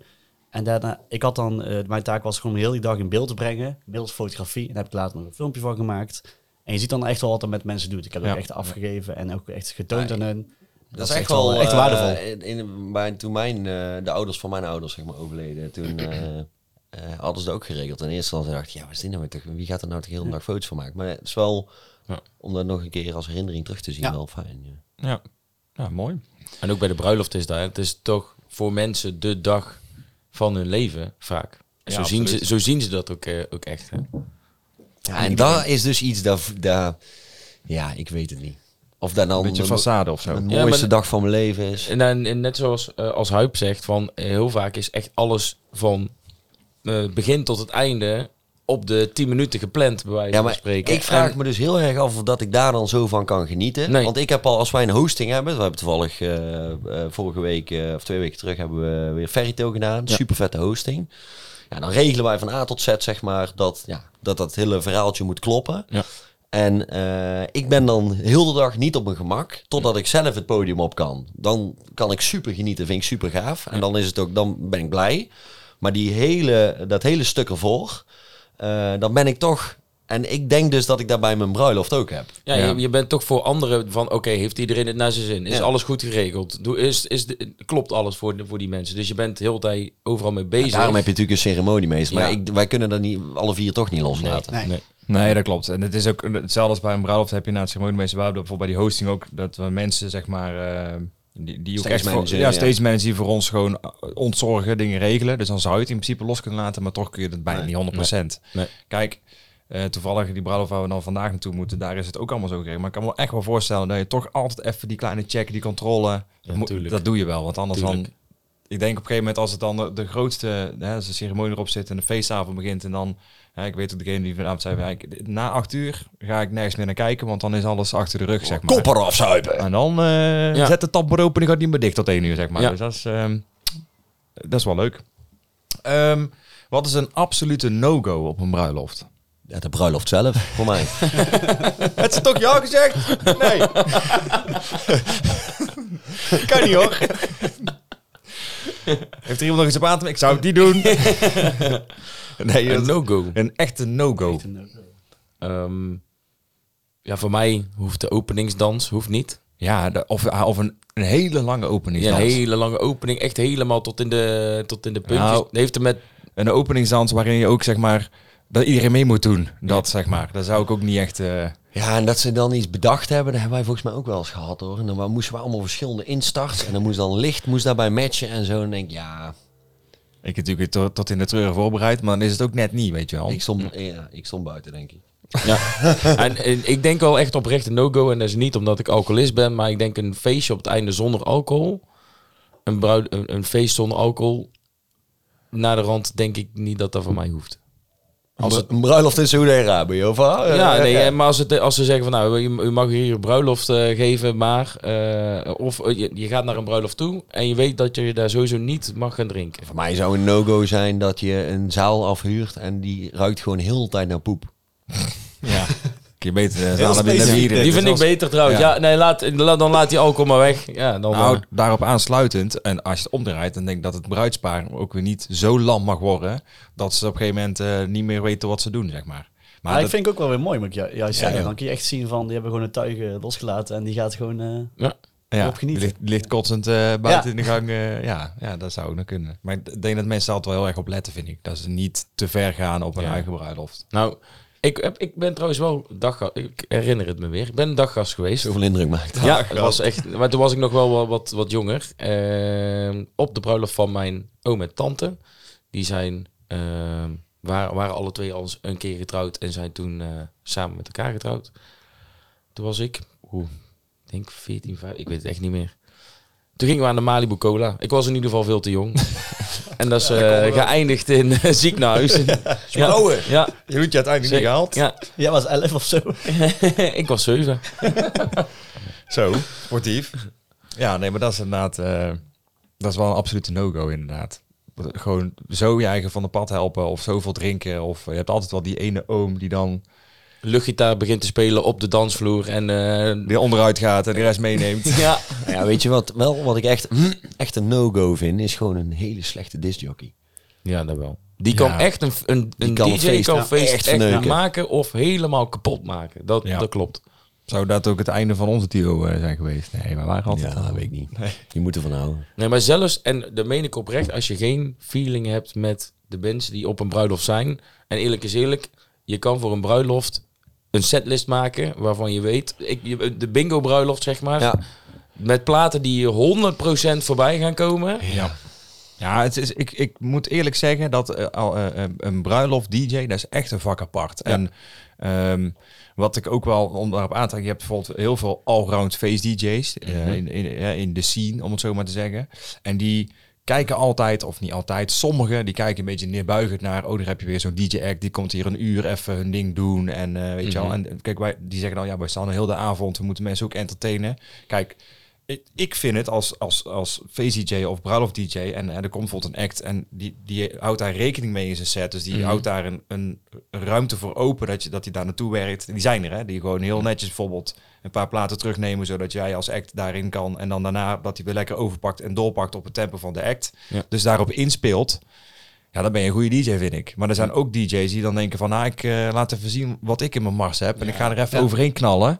En daarna, ik had dan, eh, mijn taak was gewoon heel die dag in beeld te brengen, middels fotografie. En daar heb ik later nog een filmpje van gemaakt. En je ziet dan echt wel wat dat met mensen doet. Ik heb dat Ja. ook echt afgegeven en ook echt getoond Ja, aan hun. Dat, is echt wel echt eh, waardevol. in, in- bij- toen mijn, eh, de ouders van mijn ouders zeg maar, overleden, toen eh, eh, hadden ze dat ook geregeld. In eerste instantie dacht ik, ja, wat is dit nou weer toch? Wie gaat er nou toch heel dag foto's van maken? Maar het is wel, Ja. om dat nog een keer als herinnering terug te zien, Ja. wel fijn. Ja. Ja, ja mooi. En ook bij de bruiloft is dat. hè. Het is toch voor mensen de dag van hun leven vaak. Ja, En zo, zien absoluut. ze, zo zien ze dat ook, eh, ook echt. Hè? Ja, en daar is dus iets, daar, daar, ja, ik weet het niet. Of dat Een nou beetje de, façade of zo. de Ja, mooiste maar- dag van mijn leven is. En, dan- en net zoals eh, als Huip zegt, van, eh, heel vaak is echt alles van eh, begin tot het einde op de 10 minuten gepland, bij wijze Ja, van maar spreken. ik vraag En- me dus heel erg af of dat ik daar dan zo van kan genieten. Nee. Want ik heb al, als wij een hosting hebben, we hebben toevallig eh, eh, vorige week eh, of twee weken terug hebben we weer Fairytale gedaan. Super vette hosting. Ja, dan regelen wij van A tot Z, zeg maar, dat ja, dat, dat hele verhaaltje moet kloppen. Ja. En eh, ik ben dan heel de dag niet op mijn gemak, totdat ik zelf het podium op kan. Dan kan ik super genieten, vind ik super gaaf. En dan, is het ook, dan ben ik blij. Maar die hele, dat hele stuk ervoor, eh, dan ben ik toch... En ik denk dus dat ik dat bij mijn bruiloft ook heb. Ja, Ja. Je, je bent toch voor anderen van, oké, heeft iedereen het naar zijn zin? Is Ja. alles goed geregeld? Doe, is, is de- klopt alles voor, de- voor die mensen? Dus je bent heel de tijd overal mee bezig. Daarom heb je natuurlijk een ceremoniemeester. Maar Ja. ik, wij kunnen dat niet, alle vier toch niet loslaten. Nee. Nee, dat klopt. En het is ook hetzelfeld als bij een bruiloft heb je na het ceremoniemeester waar we bijvoorbeeld bij die hosting ook dat we mensen zeg maar eh, die, die ook Stage echt voor, manager, ja, ja. steeds mensen die voor ons gewoon eh, ontzorgen, dingen regelen. Dus dan zou je het in principe los kunnen laten, maar toch kun je het bijna niet 100%. Nee. Kijk, eh, toevallig die bruiloft waar we dan vandaag naartoe moeten, daar is het ook allemaal zo geregeld. Maar ik kan me echt wel voorstellen dat je toch altijd even die kleine check, die controle, dat moet- tuurlijk. dat doe je wel, want anders Tuurlijk. dan ik denk op een gegeven moment als het dan de, de grootste, hè, als de ceremonie erop zit en de feestavond begint en dan, hè, ik weet ook degene die vanavond zei, van, ja, ik- na acht uur ga ik nergens meer naar kijken, want dan is alles achter de rug, zeg maar. Kopper afzuipen! En dan eh, Ja. zet de tapbord open en gaat niet meer dicht tot één uur, zeg maar. Ja. Dus dat is, ehm, dat is wel leuk. Ehm, wat is een absolute no-go op een bruiloft? Ja, de bruiloft zelf, voor mij. Het is toch jou gezegd? Nee. kan niet hoor. Heeft er iemand nog iets op aan te Ik zou het niet doen. nee, Een dat- no-go. een echte no-go. Ehm, ja, voor mij hoeft de openingsdans hoeft niet. Ja, de- of, ah, of een, een hele lange Ja, een openingsdans. hele lange opening, echt helemaal tot in de, tot in de puntjes. Nou. Heeft er met Een openingsdans waarin je ook zeg maar dat iedereen mee moet doen. Dat zeg maar. Daar zou ik ook niet echt. eh, Ja, en dat ze dan iets bedacht hebben, dat hebben wij volgens mij ook wel eens gehad hoor. En dan wa- moesten we allemaal verschillende instarts. En dan moest dan licht moest daarbij matchen en zo. En dan denk ik, ja, ik heb natuurlijk tot, tot in de treuren voorbereid, maar dan is het ook net niet, weet je wel. ik stond, ja, ik stond buiten, denk ik. En, en ik denk wel echt oprecht een no-go. En dat is niet omdat ik alcoholist ben, maar ik denk een feestje op het einde zonder alcohol. Een, bruid, een, een feest zonder alcohol. Naar de rand denk ik niet dat dat van mij hoeft. Als een bruiloft in Saudi-Arabië, of wat? Ja, nee, eh, maar als, het, als ze zeggen van nou, u u mag hier je bruiloft eh, geven, maar. eh, of eh, je, je gaat naar een bruiloft toe en je weet dat je daar sowieso niet mag gaan drinken. Voor mij zou een no-go zijn dat je een zaal afhuurt en die ruikt gewoon heel de tijd naar poep. Ja. Kun je beter eh, Heel zaal hebben in de specifiek, wieren. Die dit Dus vind ik als- beter trouwens. ja. Ja, nee, laat, la- dan laat die alcohol maar weg. Ja, dan, Nou, eh, daarop aansluitend, en als je het omdraait, dan denk ik dat het bruidspaar ook weer niet zo lam mag worden. Dat ze op een gegeven moment eh, niet meer weten wat ze doen, zeg maar. Maar Maar ik dat- vind het ook wel weer mooi, moet ik ju- juist Ja, zeggen. ja. Dan kun je echt zien van, die hebben gewoon een tuigen losgelaten en die gaat gewoon... eh, ja. ja, erop genieten. Ligt, ligt kotsend eh, buiten in de gang. eh, ja, ja, dat zou ook nog kunnen. Maar ik d- denk dat mensen daar altijd wel heel erg op letten, vind ik. Dat ze niet te ver gaan op hun Ja. eigen bruiloft. Nou, ik, heb, ik ben trouwens wel daggast. Ik herinner het me weer. Ik ben een daggast geweest. Zoveel indruk maakt. Ja, het was echt. Maar toen was ik nog wel wat, wat, wat jonger. Ehm, op de bruiloft van mijn oom en tante. Die zijn, ehm, waren, waren alle twee al eens een keer getrouwd en zijn toen eh, samen met elkaar getrouwd. Toen was ik, oeh, ik denk 14, 15, ik weet het echt niet meer. Toen gingen we aan de Malibu Cola. Ik was in ieder geval veel te jong. en dat is eh, geëindigd in een ziekenhuis. ja, ja, Je doet je uiteindelijk zeker. Ja, jij was 11 of zo. Nou, ik was zeven. Zo, sportief. Ja, nee, maar dat is inderdaad... eh, dat is wel een absolute no-go, inderdaad. Gewoon zo je eigen van de pad helpen of zoveel drinken. Of je hebt altijd wel die ene oom die dan Luchtgitaar begint te spelen op de dansvloer en eh, die onderuit gaat en de rest meeneemt. Ja. Ja, weet je wat? Wel, wat ik echt, echt een no-go vind, is gewoon een hele slechte discjockey. Ja, dat wel. Die kan Ja. echt een, een, een kan DJ het feest, kan ja, feest echt echt, verneuken. maken of helemaal kapot maken. Dat, Ja. dat klopt. Zou dat ook het einde van onze duo eh, zijn geweest? Nee, maar waren altijd... Ja, al- dat weet ik niet. Je moet ervan houden. Nee, maar zelfs, en dat meen ik oprecht, als je geen feeling hebt met de mensen die op een bruiloft zijn. En eerlijk is eerlijk, je kan voor een bruiloft een setlist maken waarvan je weet, ik, je- de bingo bruiloft zeg maar, Ja. met platen die je 100% voorbij gaan komen. Ja. Ja, het is, ik, ik moet eerlijk zeggen dat eh, al, eh, eh, een bruiloft DJ, dat is echt een vak apart. En ehm, wat ik ook wel om daarop aan te haken, je hebt bijvoorbeeld heel veel allround face DJ's eh, in, in, eh, in de scene, om het zo maar te zeggen. En die kijken altijd, of niet altijd, sommigen die kijken een beetje neerbuigend naar, oh daar heb je weer zo'n DJ act, die komt hier een uur even hun ding doen en eh, weet je wel. En eh, kijk, wij, die zeggen dan, ja, wij staan heel de avond, we moeten mensen ook entertainen. Kijk, ik, ik vind het als, als, als face-dj of bruiloft-dj en, en er komt bijvoorbeeld een act en die, die houdt daar rekening mee in zijn set. Dus die houdt daar een, een ruimte voor open dat je dat die daar naartoe werkt. Die zijn er, hè? Die gewoon heel netjes bijvoorbeeld een paar platen terugnemen, zodat jij als act daarin kan. En dan daarna dat hij weer lekker overpakt en doorpakt op het tempo van de act. Ja. Dus daarop inspeelt. Ja, dan ben je een goede DJ, vind ik. Maar er zijn ook DJ's die dan denken van, nou, ik eh, laat even zien wat ik in mijn mars heb. En ik ga er even overheen knallen.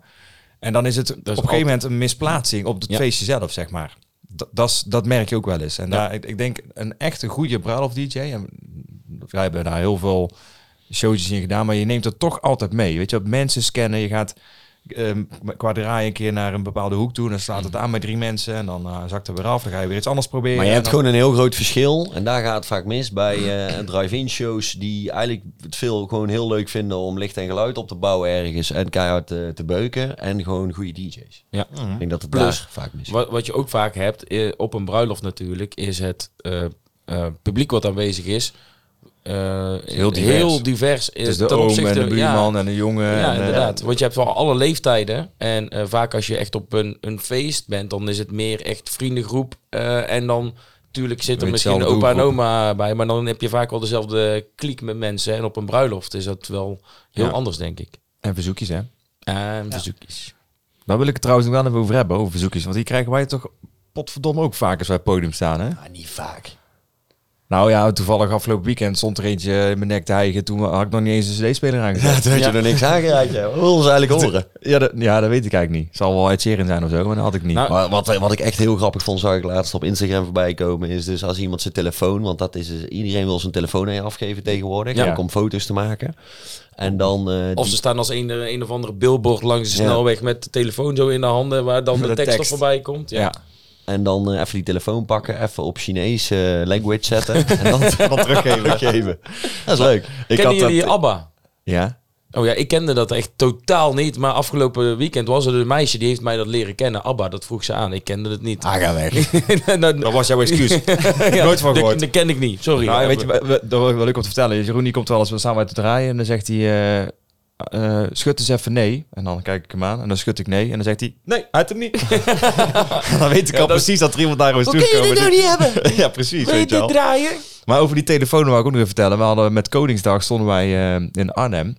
En dan is het op een gegeven altijd- moment een misplaatsing op het Ja. feestje zelf, zeg maar. Dat, dat's- dat merk je ook wel eens. En daar, ik, ik denk, een echte goede bruiloft DJ, en wij hebben daar heel veel showtjes in gedaan, maar je neemt het toch altijd mee. Weet je, op mensen scannen, je gaat ehm, qua draai een keer naar een bepaalde hoek toe, en dan slaat het aan met drie mensen, en dan eh, zakt het weer af, dan ga je weer iets anders proberen. Maar je en hebt dan- gewoon een heel groot verschil. En daar gaat het vaak mis bij eh, drive-in shows die eigenlijk het veel gewoon heel leuk vinden om licht en geluid op te bouwen ergens en keihard eh, te beuken. En gewoon goede DJ's. Ja. Mhm. Ik denk dat het Plus, daar vaak mis Wat, wat je ook vaak hebt eh, op een bruiloft natuurlijk, is het eh, eh, publiek wat aanwezig is. eh, Heel divers. Heel divers. eh, Het is Dus de ten oom en opzichte- de buurman Ja, en de jongen. ja, en, eh, inderdaad. Want je hebt wel alle leeftijden. En eh, vaak als je echt op een, een feest bent, dan is het meer echt vriendengroep. eh, en dan Tuurlijk zit er Weet misschien zelf de opa en doelgroep. oma bij, maar dan heb je vaak wel dezelfde kliek met mensen. En op een bruiloft is dat wel heel Ja. anders, denk ik. Eh, En verzoekjes, hè? En verzoekjes. Daar wil ik het trouwens nog wel even over hebben, over verzoekjes. Want die krijgen wij toch potverdomme ook vaak als wij op het podium staan, hè? Maar niet vaak. Nou ja, toevallig afgelopen weekend stond er eentje in mijn nek te hijgen. Toen had ik nog niet eens een cd-speler aangezet. Ja, toen had je er niks aan geraakt. ja. We wilden ons eigenlijk horen. Ja, dat, ja, dat weet ik eigenlijk niet. Zal wel Ed Sheeran zijn of zo, maar dat had ik niet. Nou, Maar wat, wat ik echt heel grappig vond, zag ik laatst op Instagram voorbij komen, is dus als iemand zijn telefoon, want dat is dus- iedereen wil zijn telefoon aan je afgeven tegenwoordig, Ja. ook om foto's te maken. En dan... eh, Of die- ze staan als een, een of andere billboard langs de Ja. snelweg met de telefoon zo in de handen, waar dan de, Met de tekst, op tekst. voorbij komt. Ja. ja. En dan eh, even die telefoon pakken, even op Chinees eh, language zetten. en dan, dan teruggeven. teruggeven. Dat is leuk. Ik Kennen had eh, dat- jullie ABBA? ja. Oh ja, ik kende dat echt totaal niet. Maar afgelopen weekend was er een meisje die heeft mij dat leren kennen. Abba, dat vroeg ze aan. Ik kende het niet. Ah, ga weg. En dan- Dat was jouw excuus. ja, nooit van dat- gehoord. Dat ken ik niet, sorry. Nou, weet je, we- we- daar wil ik wat vertellen. Jeroen die komt wel eens samen uit te draaien en dan zegt hij... eh, eh, schud eens even nee. En dan kijk ik hem aan en dan schud ik nee. En dan zegt hij... Nee, uit hem niet. dan weet ik al dat- precies dat er iemand daar is Hoe kun je toegekomen. dit nou niet hebben? ja, precies. Wil je Weet je dit wel. draaien? Maar over die telefoon wou ik ook nog even vertellen. We hadden met Koningsdag stonden wij eh, in Arnhem.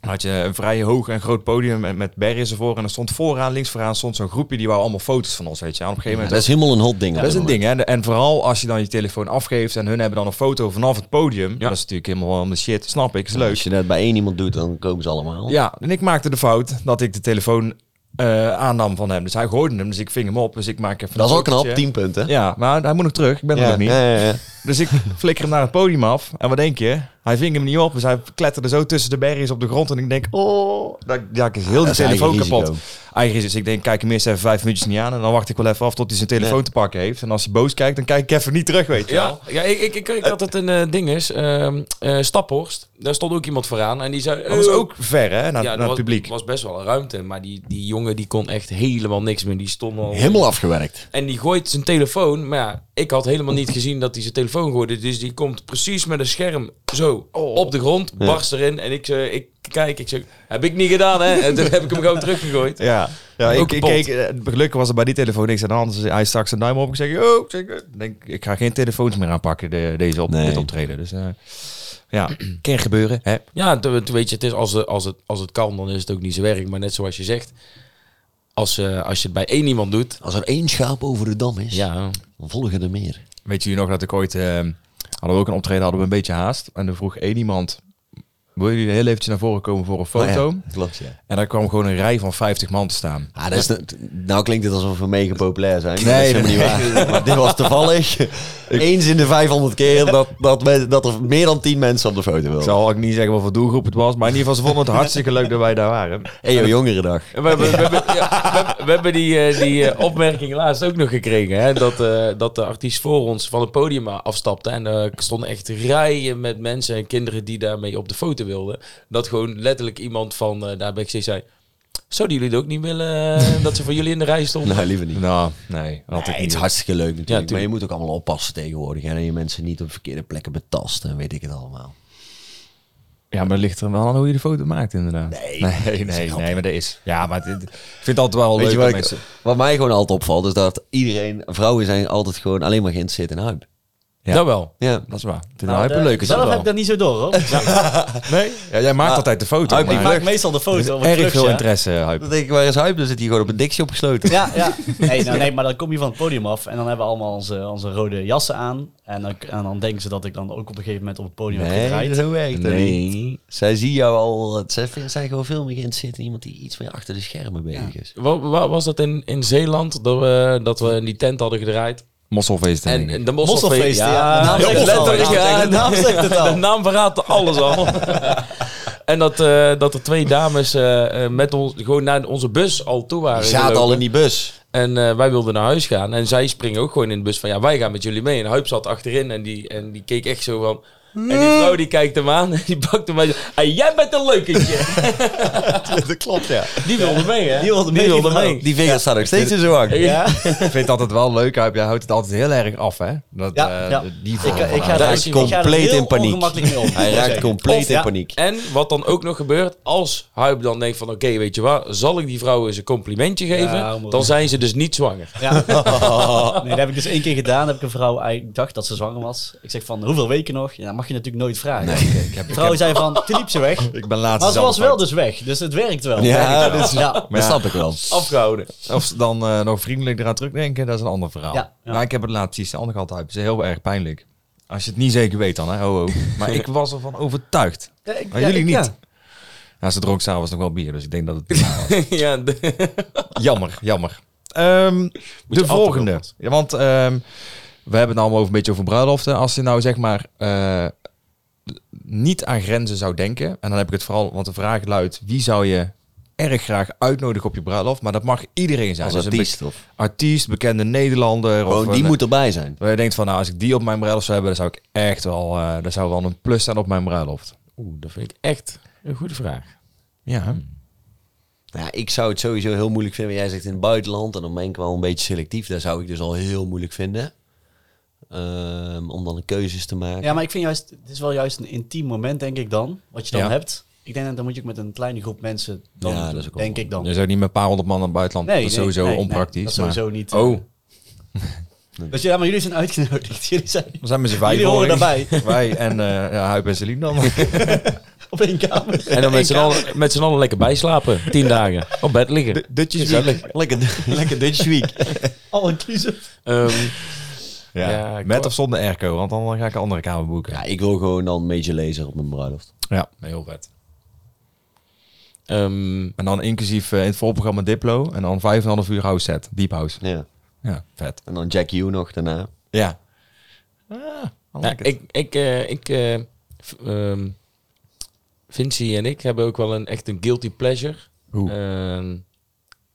Dan had je een vrij hoog en groot podium met, met berries ervoor. En er stond vooraan, links vooraan, stond zo'n groepje die wou allemaal foto's van ons, weet je. En op een gegeven Ja, moment... dat is helemaal een hot ding. op dat is dit een moment. ding, hè. En- En vooral als je dan je telefoon afgeeft en hun hebben dan een foto vanaf het podium. Dat is natuurlijk helemaal om de shit, snap ik. Is leuk. Als je dat bij één iemand doet, dan komen ze allemaal. Ja, en ik maakte de fout dat ik de telefoon eh, aannam van hem. Dus hij gooide hem, dus ik ving hem op. Dus ik maak even Dat is een al knap, fotootje. 10 punten. Ja, maar hij moet nog terug. Ik ben er nog niet. ja, ja, ja. Dus ik flikker hem naar het podium af. En wat denk je? Hij ving hem niet op. Dus hij kletterde zo tussen de berries op de grond. En ik denk, oh, dat, ja, ik is heel de Dat is eigen telefoon risico. kapot. Eigen risico. Dus ik denk, kijk hem eerst even vijf minuutjes niet aan. En dan wacht ik wel even af tot hij zijn telefoon Nee. te pakken heeft. En als hij boos kijkt, dan kijk ik even niet terug, weet je wel. Ja, ja ik, ik, ik kreeg altijd een eh, ding is. ehm, eh, Staphorst, daar stond ook iemand vooraan. En die zei... Dat was eh, ook ver, hè, naar, ja, naar er het was, publiek. was best wel een ruimte. Maar die, die jongen die kon echt helemaal niks meer. Die stond al... Helemaal afgewerkt. En die gooit zijn telefoon. Maar ja, ik had helemaal niet gezien dat hij zijn telefoon gooide. Dus die komt precies met een scherm zo op de grond, barst erin. En ik, eh, ik kijk, ik zeg, heb ik niet gedaan hè? En toen heb ik hem gewoon teruggegooid. Ja, ja Ook ik, ik kapot. keek, eh, gelukkig was er bij die telefoon niks aan de hand. Dus hij stak zijn duim op. Ik zeg, oh, ik, zeg, eh, denk, ik ga geen telefoons meer aanpakken, de, deze op, Nee. dit optreden. Dus eh, ja, kan gebeuren, hè. Ja, toen, toen weet je, het is, als, het, als, het, als het kan, dan is het ook niet zo werk. Maar net zoals je zegt, als, eh, als je het bij één iemand doet... Als er één schaap over de dam is, Ja, dan volgen er meer. Weet je nog dat ik ooit... eh, hadden we ook een optreden, hadden we een beetje haast. En er vroeg één iemand... Wil jullie heel eventjes naar voren komen voor een foto? Oh ja, klopt, ja. En daar kwam gewoon een rij van 50 man te staan. Ah, dat is de- nou klinkt het alsof we mega populair zijn. Nee, dat is nee. helemaal niet waar. Maar dit was toevallig eens in de 500 keer dat, dat, we- dat er meer dan 10 mensen op de foto Ik wilden. zal ook niet zeggen wat voor doelgroep het was. Maar in ieder geval, ze vonden het hartstikke leuk dat wij daar waren. Ejo Jongerendag. we hebben, we hebben, ja, we hebben- we hebben die, eh, die eh, opmerking laatst ook nog gekregen. Hè? Dat, eh, dat de artiest voor ons van het podium afstapte. En er stonden echt rijen met mensen en kinderen die daarmee op de foto wilden. Dat gewoon letterlijk iemand van eh, daar ben ik steeds zei... Zouden jullie het ook niet willen eh, dat ze voor jullie in de rij stonden? Nou, liever niet. Nou, nee. Nee, Had ik het niet. is hartstikke leuk natuurlijk. tuurlijk. maar je moet ook allemaal oppassen tegenwoordig. Hè? En je mensen niet op verkeerde plekken betasten en weet ik het allemaal. Ja, maar het ligt er wel aan hoe je de foto maakt, inderdaad. Nee, dat is nee, een nee, grap. nee, maar dat is. Ja, maar dit- ik vind het altijd wel Weet leuk je dat wat, ik- mensen... wat mij gewoon altijd opvalt, is dat iedereen, vrouwen zijn altijd gewoon alleen maar geïnteresseerd in hype. Ja. Dat wel. Ja. Dat is waar. Ik vind Nou, hype de- leuk is dat Zelf heb wel. ik dat niet zo door, hoor. Nee? Ja, jij maakt altijd de foto. Ah, hype, ik maar- maak meestal de Er is foto op het erg terugje. veel interesse, hype. Dan denk ik, waar is hype? Dan zit hij gewoon op een dikje opgesloten. Ja, ja. Nee, nou, nee, maar dan kom je van het podium af en dan hebben we allemaal onze, onze rode jassen aan. En dan, en dan denken ze dat ik dan ook op een gegeven moment op het podium heb Nee, gedraaid. zo werkt het Nee. niet. Zij zien jou al, zij vind- zijn gewoon veel meer geïnteresseerd in iemand die iets meer achter de schermen bezig is. Wat, was dat in, in Zeeland? Dat we, dat we in die tent hadden gedraaid. Mosselfeest, En, denk ik. de Mosselfeest, mosselfeest. ja. De naam zegt het al. letterlijk. Ja, ja, de naam zegt het al. De naam verraadt alles al. en dat, eh, dat er twee dames eh, eh, met ons gewoon naar onze bus al toe waren. Zaten gelopen. al in die bus. En eh, wij wilden naar huis gaan. En zij springen ook gewoon in de bus van ja, wij gaan met jullie mee. En Huip zat achterin en die, en die keek echt zo van. En Hmm. die vrouw die kijkt hem aan en die pakt hem uit. En jij bent een leukentje. dat klopt, ja. Die wilde mee, hè? Die wilde mee, Die die wilde vrouw. mee. Die vingers staan nog steeds in zo hang. Ja. Ik vind het altijd wel leuk, Huip. Jij houdt het altijd heel erg af, hè? Dat, Ja, eh, ja. Die Ik, vorm van ik ga haat. daar Hij is ik ga daar compleet heel in paniek. ongemakkelijk mee om. Hij raakt compleet Of, in ja, paniek. En wat dan ook nog gebeurt, als Huib dan denkt van... Oké, weet je wat, zal ik die vrouw eens een complimentje geven? moet- dan zijn ze dus niet zwanger. Ja. Nee, dat heb ik dus één keer gedaan. Heb ik een vrouw, ah, ik dacht dat ze zwanger was. Ik zeg van, hoeveel weken nog? Ja, dat mag je natuurlijk nooit vragen. de vrouw zei van, toen liep ze weg. Ik ben laatst Maar ze zelf was wel dus weg, dus het werkt wel. Ja, dat is- Ja. Maar Ja. snap ik wel. Afgehouden. Of ze dan eh, nog vriendelijk eraan terugdenken, dat is een ander verhaal. Ja, ja. Maar ik heb het laatst iets anders gehad uit. Het is heel erg pijnlijk. Als je het niet zeker weet dan, hè. Ho, ho. Maar ik was ervan overtuigd. Maar jullie niet. Ja. ze dronk s'avonds nog wel bier, dus ik denk dat het... ja, de- jammer, jammer. Ehm, de altijd volgende. wel wat. Ja, want ehm, we hebben het allemaal over, een beetje over bruiloften. Als je nou zeg maar eh, niet aan grenzen zou denken... En dan heb ik het vooral, want de vraag luidt... Wie zou je erg graag uitnodigen op je bruiloft? Maar dat mag iedereen zijn. Als Dus een artiest. Of, eh, artiest, bekende Nederlander. of gewoon, die een- moet erbij zijn. Waar je denkt van, nou, als ik die op mijn bruiloft zou hebben, dan zou ik echt wel, eh daar zou wel een plus staan op mijn bruiloft. Oeh, dat vind ik echt een goede vraag. Ja. Ja, ik zou het sowieso heel moeilijk vinden. Jij zegt in het buitenland en dan ben ik wel een beetje selectief. Daar zou ik dus al heel moeilijk vinden. Ehm, om dan een keuzes te maken. Ja, maar ik vind juist, het is wel juist een intiem moment, denk ik dan, wat je dan Ja. hebt. Ik denk dat dan moet je ook met een kleine groep mensen, dan, Ja, dat is ook wel denk ik dan. Je zou niet met een paar honderd man naar het buitenland, Dus dat is sowieso nee, nee, onpraktisch. dat is maar- sowieso niet. eh, Oh, Dus ja, maar jullie zijn uitgenodigd. Jullie zijn we zijn met z'n vijf. Jullie horen Wij en eh ja, Huip en Celine dan. op één kamer. En dan met z'n allen, met z'n allen lekker bijslapen. Tien dagen. Op bed liggen. Dutch Week. Lekker, lekker Dutch Week. Allen kiezen. Ehm, ja. Ja, ik met hoor. of zonder airco, want dan ga ik een andere kamer boeken. Ja, ik wil gewoon dan Major Laser op mijn bruiloft. Ja, heel vet. ehm, En dan inclusief eh, in het voorprogramma Diplo en dan vijf en een half uur house set, deep house. Ja. Ja, vet. En dan Jack U nog daarna. Ja. Ah, ja, ik, ik, eh, ik, eh, v- ehm, Vinci en ik hebben ook wel een echt een guilty pleasure. Hoe? Ehm,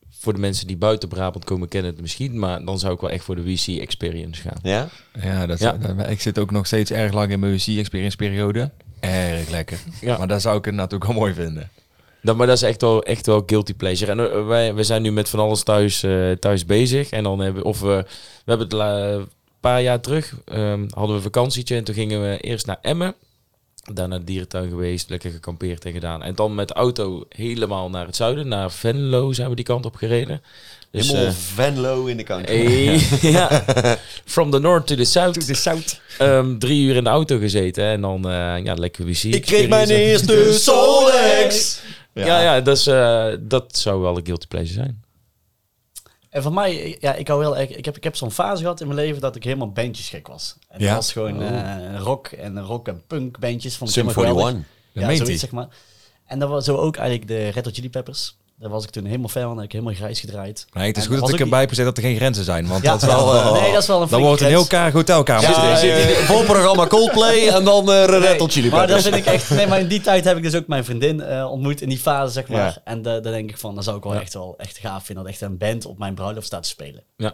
voor de mensen die buiten Brabant komen kennen het misschien, maar dan zou ik wel echt voor de WC Experience gaan. Ja? Ja, dat, Ja. dat- ik zit ook nog steeds erg lang in mijn C-experience periode. Erg lekker. Ja. Maar daar zou ik het natuurlijk wel mooi vinden. Dat, maar dat is echt wel, echt wel guilty pleasure. En eh, wij, wij zijn nu met van alles thuis, eh, thuis bezig. En dan hebben of we, we hebben het la- een paar jaar terug ehm, hadden we een vakantietje. En toen gingen we eerst naar Emmen. Daarna naar de dierentuin geweest, lekker gekampeerd en gedaan. En dan met de auto helemaal naar het zuiden, naar Venlo zijn we die kant op gereden. Dus, Helemaal eh, Venlo in de kant. eh, ja. From the north to the south. zout. Ehm, drie uur in de auto gezeten. En dan eh, ja, lekker wc. experience. eerste Solex. Ja, ja, dat, is, eh, dat zou wel een guilty pleasure zijn. En voor mij, ja, ik hou heel erg. Ik heb, ik heb zo'n fase gehad in mijn leven dat ik helemaal bandjes gek was. En Ja? dat was gewoon eh, rock en rock en punk bandjes. Vond ik Sum helemaal geweldig. 41. Dat Ja, meent zoiets hij. zeg maar. En dat was zo ook eigenlijk de Red Hot Chili Peppers. Daar was ik toen helemaal fan van. Heb ik helemaal grijs gedraaid. Nee, het is En goed dat was ik ook- erbij heb dat er geen grenzen zijn. Want Ja, dat is wel, eh, nee, dat is wel een dan wordt het een heel flinke karig hotelkamer. Ja, Ja, eh, vol programma Coldplay en dan uh, Red Hot Chili maar dat Peppers. vind ik echt. Nee, maar in die tijd heb ik dus ook mijn vriendin eh, ontmoet in die fase, zeg maar. Ja. En daar daar denk ik van, dan zou ik wel echt wel echt gaaf vinden dat echt een band op mijn bruiloft staat te spelen. Ja.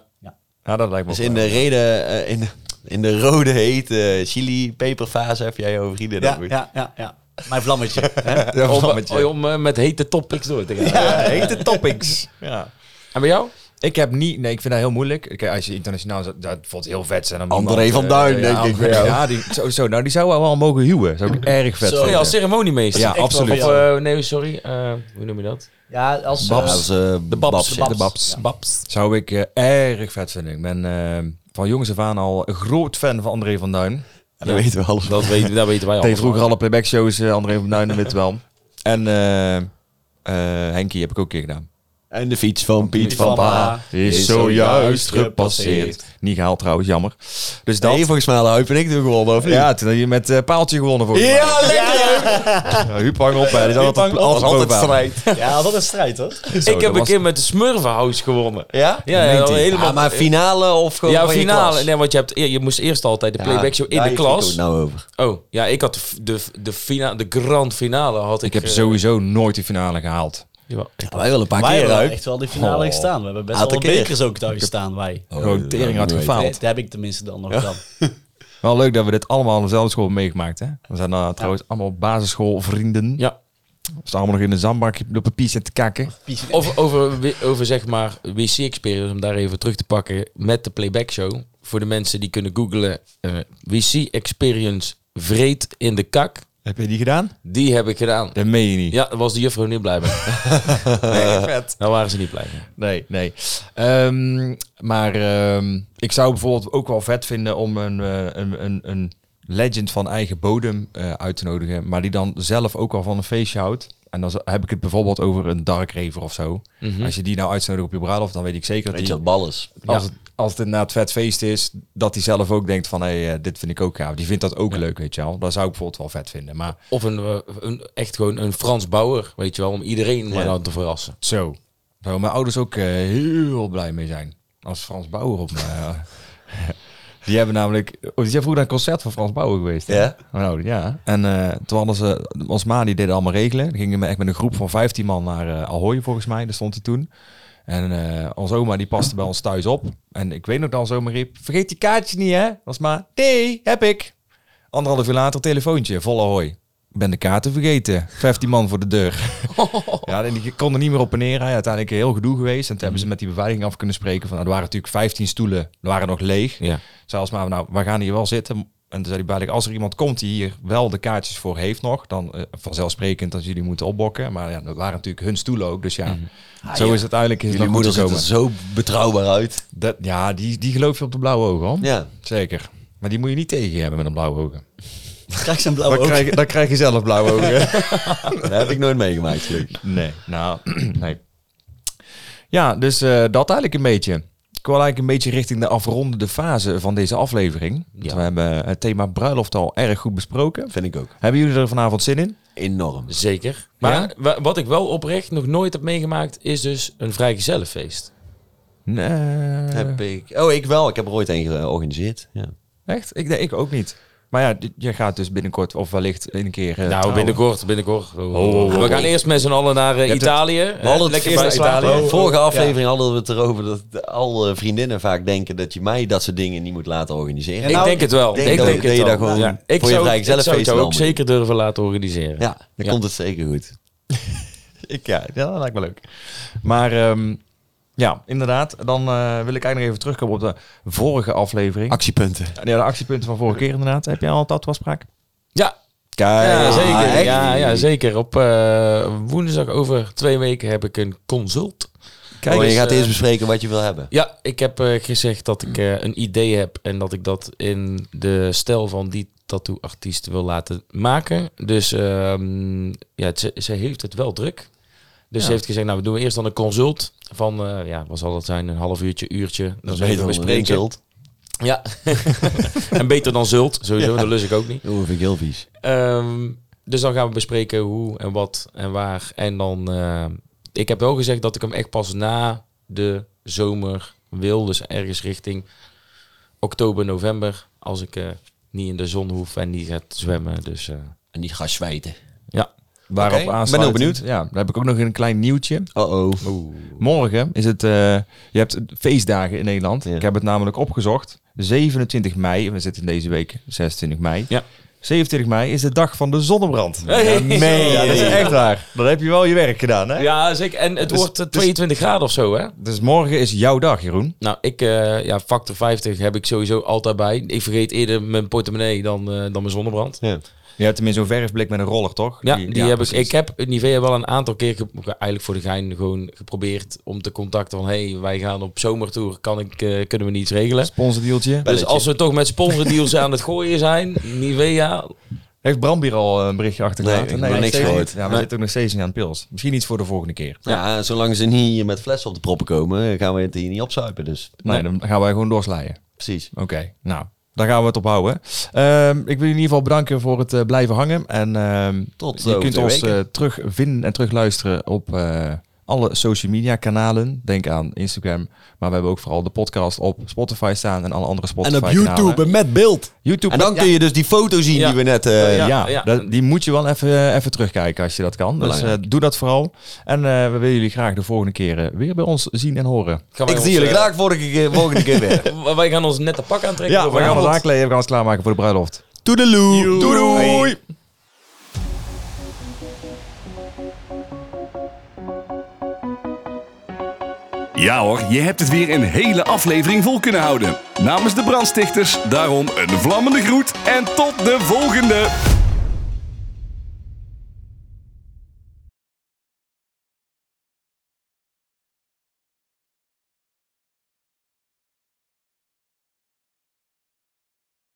dat lijkt me Dus ook in de reden, eh, in, de- in de rode heet eh, chili peperfase heb jij over iedereen Ja, ja, ja, ja. Mijn vlammetje. hè? wel- Ja, Om, Oh, met je. eh, om eh, met hete topics door te gaan. Ja, hete topics. Ja. En bij jou? Ik heb niet, nee, ik vind dat heel moeilijk. Kijk, als je internationaal, zou- dat vond heel vet zijn. om André iemand, van eh, Duin, ja, denk ik bij jou. Ja, die, zo, zo, nou, die zou wel mogen huwen. Zou ik erg vet Zo, ja, vinden. als ceremoniemeester. Ja, echt absoluut. wel Of, vet. eh, nee, sorry. eh, hoe noem je dat? Ja, als... eh, Babs. de Babs. Babs. De babs. Ja. Babs. Zou ik eh, erg vet vinden. Ik ben eh, van jongs af aan al een groot fan van André van Duin. Ja, dat weten we alles wel. Dat weten, dat weten wij al. deed vroeger alle playback shows, eh, André van Duin, dat weet wel. En eh eh, Henkie heb ik ook een keer gedaan. En de fiets van Piet van van Pa. Pa Is zojuist gepasseerd. Niet gehaald trouwens, jammer. Dus dat. Nee, volgens mij hadden Huip en ik toen gewonnen, of niet? ja, toen had je met eh, paaltje gewonnen voor. Ja, lekker! Huub hang op, hè. Die zat altijd, Dat was alles altijd bovenaan. strijd. Ja, wat een strijd, hoor. Zo, ik dat heb een was- keer met de Smurvenhouse gewonnen. Ja? Ja, ja, helemaal. Ah, maar finale of gewoon ja, van je finale. klas? Nee, want je, hebt, e-, je moest eerst altijd de Ja, playback show in daar de heeft Rico klas. het nou over. Oh, ja, ik had de, f- de, f- de, fina, de grand finale. Had ik, Ik heb eh, sowieso nooit die finale gehaald. jawel. Ja, wij willen een paar Wij keer hebben wel uit. echt wel die finale Oh. gestaan. We hebben best Aantal wel keer. Oh, bekers ook thuis staan, wij. Gewoon tering had dat gefaald. Dat heb ik tenminste dan nog dan. Wel leuk dat we dit allemaal aan dezelfde school hebben meegemaakt. Hè? We zijn nou trouwens allemaal basisschoolvrienden. Ja. We staan allemaal nog in een zandbakje op een pies te kakken. Of over, wi- over zeg maar WC-experience, om daar even terug te pakken met de playback show. Voor de mensen die kunnen googlen, eh, WC-experience vreet in de kak. Heb je die gedaan? Die heb ik gedaan. Dat meen je niet. Ja, daar was de juffrouw niet blij mee. Nee, vet. Daar waren ze niet blij mee. Nee, nee. Ehm, maar ehm, ik zou bijvoorbeeld ook wel vet vinden om een, eh, een, een, een legend van eigen bodem eh, uit te nodigen. Maar die dan zelf ook wel van een feestje houdt. En dan z- heb ik het bijvoorbeeld over een Dark Raver of zo. Als je die nou uitnodigt op je bruiloft, dan weet ik zeker Mhm. dat Weet je die... wat bal is? Als, het, als het inderdaad vet feest is, dat hij zelf ook denkt van... hé, hey, eh, dit vind ik ook gaaf. Die vindt dat ook leuk, weet je wel. Dat zou ik bijvoorbeeld wel vet vinden. Maar Of een, eh, een, echt gewoon een Frans bouwer, weet je wel, om iedereen maar dan te verrassen. Zo. Daar zouden mijn ouders ook eh, heel blij mee zijn. Als Frans Bauer op me. ja. die hebben namelijk... Oh, die zijn vroeger naar een concert van Frans Bauer geweest. hè? Ja? Mijn ouders, ja. En eh, toen hadden ze... Ons ma die deden allemaal regelen. Dan gingen we echt met een groep van 15 man naar eh Ahoy volgens mij. Daar stond hij toen. En eh onze oma die paste bij ons thuis op. En ik weet nog dat onze oma riep... Vergeet je kaartje niet hè? Was ma... Nee, heb ik. Anderhalf uur later telefoontje. Vol Ahoy. Ik ben de kaarten vergeten. 15 man voor de deur. Ja, en die kon er niet meer op en neer. Hij uiteindelijk heel gedoe geweest. En toen hebben ze met die beveiliging af kunnen spreken. Van, nou, er waren natuurlijk 15 stoelen. Er waren nog leeg. Ja. Zelfs maar, nou, we gaan hier wel zitten. En toen zei die beveiliging, als er iemand komt die hier wel de kaartjes voor heeft nog, dan eh, vanzelfsprekend dat jullie moeten opbokken. Maar ja, dat waren natuurlijk hun stoelen ook. Dus ja, zo is het uiteindelijk is het Jullie nog moeder goed ziet er gekomen. zo betrouwbaar uit. Dat, ja, die, die geloof je op de blauwe ogen, hoor. Ja. Zeker. Maar die moet je niet tegen je hebben met een blauwe ogen. Krijg zijn blauwe Dan ogen. krijg, je- dan krijg je zelf blauwe ogen. Dat heb ik nooit meegemaakt, gelukkig. Nee, nou, nee. Ja, dus eh, dat eigenlijk een beetje. Ik wil eigenlijk een beetje richting de afrondende fase van deze aflevering. Want Ja. We hebben het thema bruiloft al erg goed besproken. Vind ik ook. Hebben jullie er vanavond zin in? Enorm. Zeker. Maar wa- wat ik wel oprecht nog nooit heb meegemaakt, is dus een vrijgezellenfeest. Nee. Eh, Heb ik... Oh, ik wel. Ik heb er ooit een georganiseerd. Ja. Echt? Ik, nee, ik ook niet. Maar ja, d- je gaat dus binnenkort of wellicht een keer... eh, nou, trouwen. binnenkort, Oh, binnenkort. ho, ho. We gaan eerst met z'n allen naar eh, hebt het- Italië. We hadden het Lekker vorige- bij Italië. Vorige aflevering hadden we het erover dat de- alle vriendinnen vaak denken dat je mij dat soort dingen niet moet laten organiseren. Ik Nou, denk het wel. denk ik dat- denk dat het je wel. daar gewoon Ja. voor Ik je zou, vrij ik zou het zelfeest wel ook moet. zeker durven laten organiseren. Ja, dan Ja. komt het zeker goed. Ik, ja, ja, dat lijkt me leuk. Maar ehm, ja, inderdaad. Dan eh, wil ik eigenlijk nog even terugkomen op de vorige aflevering. Actiepunten. ja, de actiepunten van vorige keer inderdaad. Heb jij al dat afspraak? Ja, Kijk, ja, ah, zeker. echt? Ja, ja, zeker. Op eh, woensdag over twee weken heb ik een consult. Kijk, oh, je eens, gaat eh, eerst bespreken wat je wil hebben. Ja, ik heb eh, gezegd dat ik eh, een idee heb en dat ik dat in de stijl van die tattoo-artiest wil laten maken. Dus ehm, ja, het- ze, ze heeft het wel druk. Dus ze heeft gezegd, nou, we doen eerst dan een consult van, eh, ja, wat zal dat zijn, een half uurtje, uurtje. Dat is even beter dan een zult. Ja, en beter dan zult, sowieso, dat lus ik ook niet. Oeh, vind ik heel vies. Ehm, dus dan gaan we bespreken hoe en wat en waar. En dan, eh, ik heb wel gezegd dat ik hem echt pas na de zomer wil. Dus ergens richting oktober, november. Als ik eh, niet in de zon hoef en niet gaat zwemmen. Dus eh, En die gaat zwijten. ja. Waarop Oké, ik ben aansluitend- heel benieuwd. Ja, daar heb ik ook nog een klein nieuwtje. Oh-oh. Morgen is het, eh, je hebt feestdagen in Nederland. Ja. Ik heb het namelijk opgezocht. 27 mei, we zitten deze week 26 mei. Ja. 27 mei is de dag van de zonnebrand. Hey. Ja, nee, ja, dat is Hey. echt waar. Dan heb je wel je werk gedaan, hè? ja, zeker. En het Dus- wordt eh, dus- 22 graden of zo, hè? Dus morgen is jouw dag, Jeroen. Nou, ik, eh, ja, factor 50 heb ik sowieso altijd bij. Ik vergeet eerder mijn portemonnee dan, eh, dan mijn zonnebrand. Ja. Je hebt hem in zo'n verfblik met een roller, toch? Ja, die, heb ik. precies. Ik heb Nivea wel een aantal keer ge- eigenlijk voor de gein gewoon geprobeerd om te contacten van hey, wij gaan op zomertour, kan ik, eh, kunnen we niets regelen? Sponsordealtje. Dus als we toch met sponsordeals aan het gooien zijn, Nivea, Heeft Brambier al een berichtje achtergelaten? Nee, ik heb nog niks steeds gehoord. niet. Ja, we Nee. zitten ook nog steeds niet aan de pils. Misschien iets voor de volgende keer. Ja, zolang ze niet met flessen op de proppen komen, gaan we het hier niet opzuipen. Dus Nee, dan gaan wij gewoon doorslaan. precies. Oké, nou, daar gaan we het op houden. Ehm, ik wil jullie in ieder geval bedanken voor het eh, blijven hangen. En ehm, Tot eh, je over kunt twee ons weken. eh, terugvinden en terugluisteren op eh, alle social media kanalen. Denk aan Instagram. Maar we hebben ook vooral de podcast op Spotify staan en alle andere Spotify En op kanalen. YouTube en met beeld. YouTube. En dan kun je dus die foto zien Ja. die we net... eh, ja, ja, ja. dat- die moet je wel even, eh, even terugkijken als je dat kan. Dus eh, Belangrijk. doe dat vooral. En eh, we willen jullie graag de volgende keer eh, weer bij ons zien en horen. Gaan wij Ik zie ons, jullie eh, graag vorige keer, volgende keer weer. w- Wij gaan ons net een pak aantrekken. Ja, voor we gaan ons vanavond. aankleden. We gaan ons klaarmaken voor de bruiloft. Toedeloe. Doei doei. Ja hoor, je hebt het weer een hele aflevering vol kunnen houden. Namens de brandstichters daarom een vlammende groet en tot de volgende!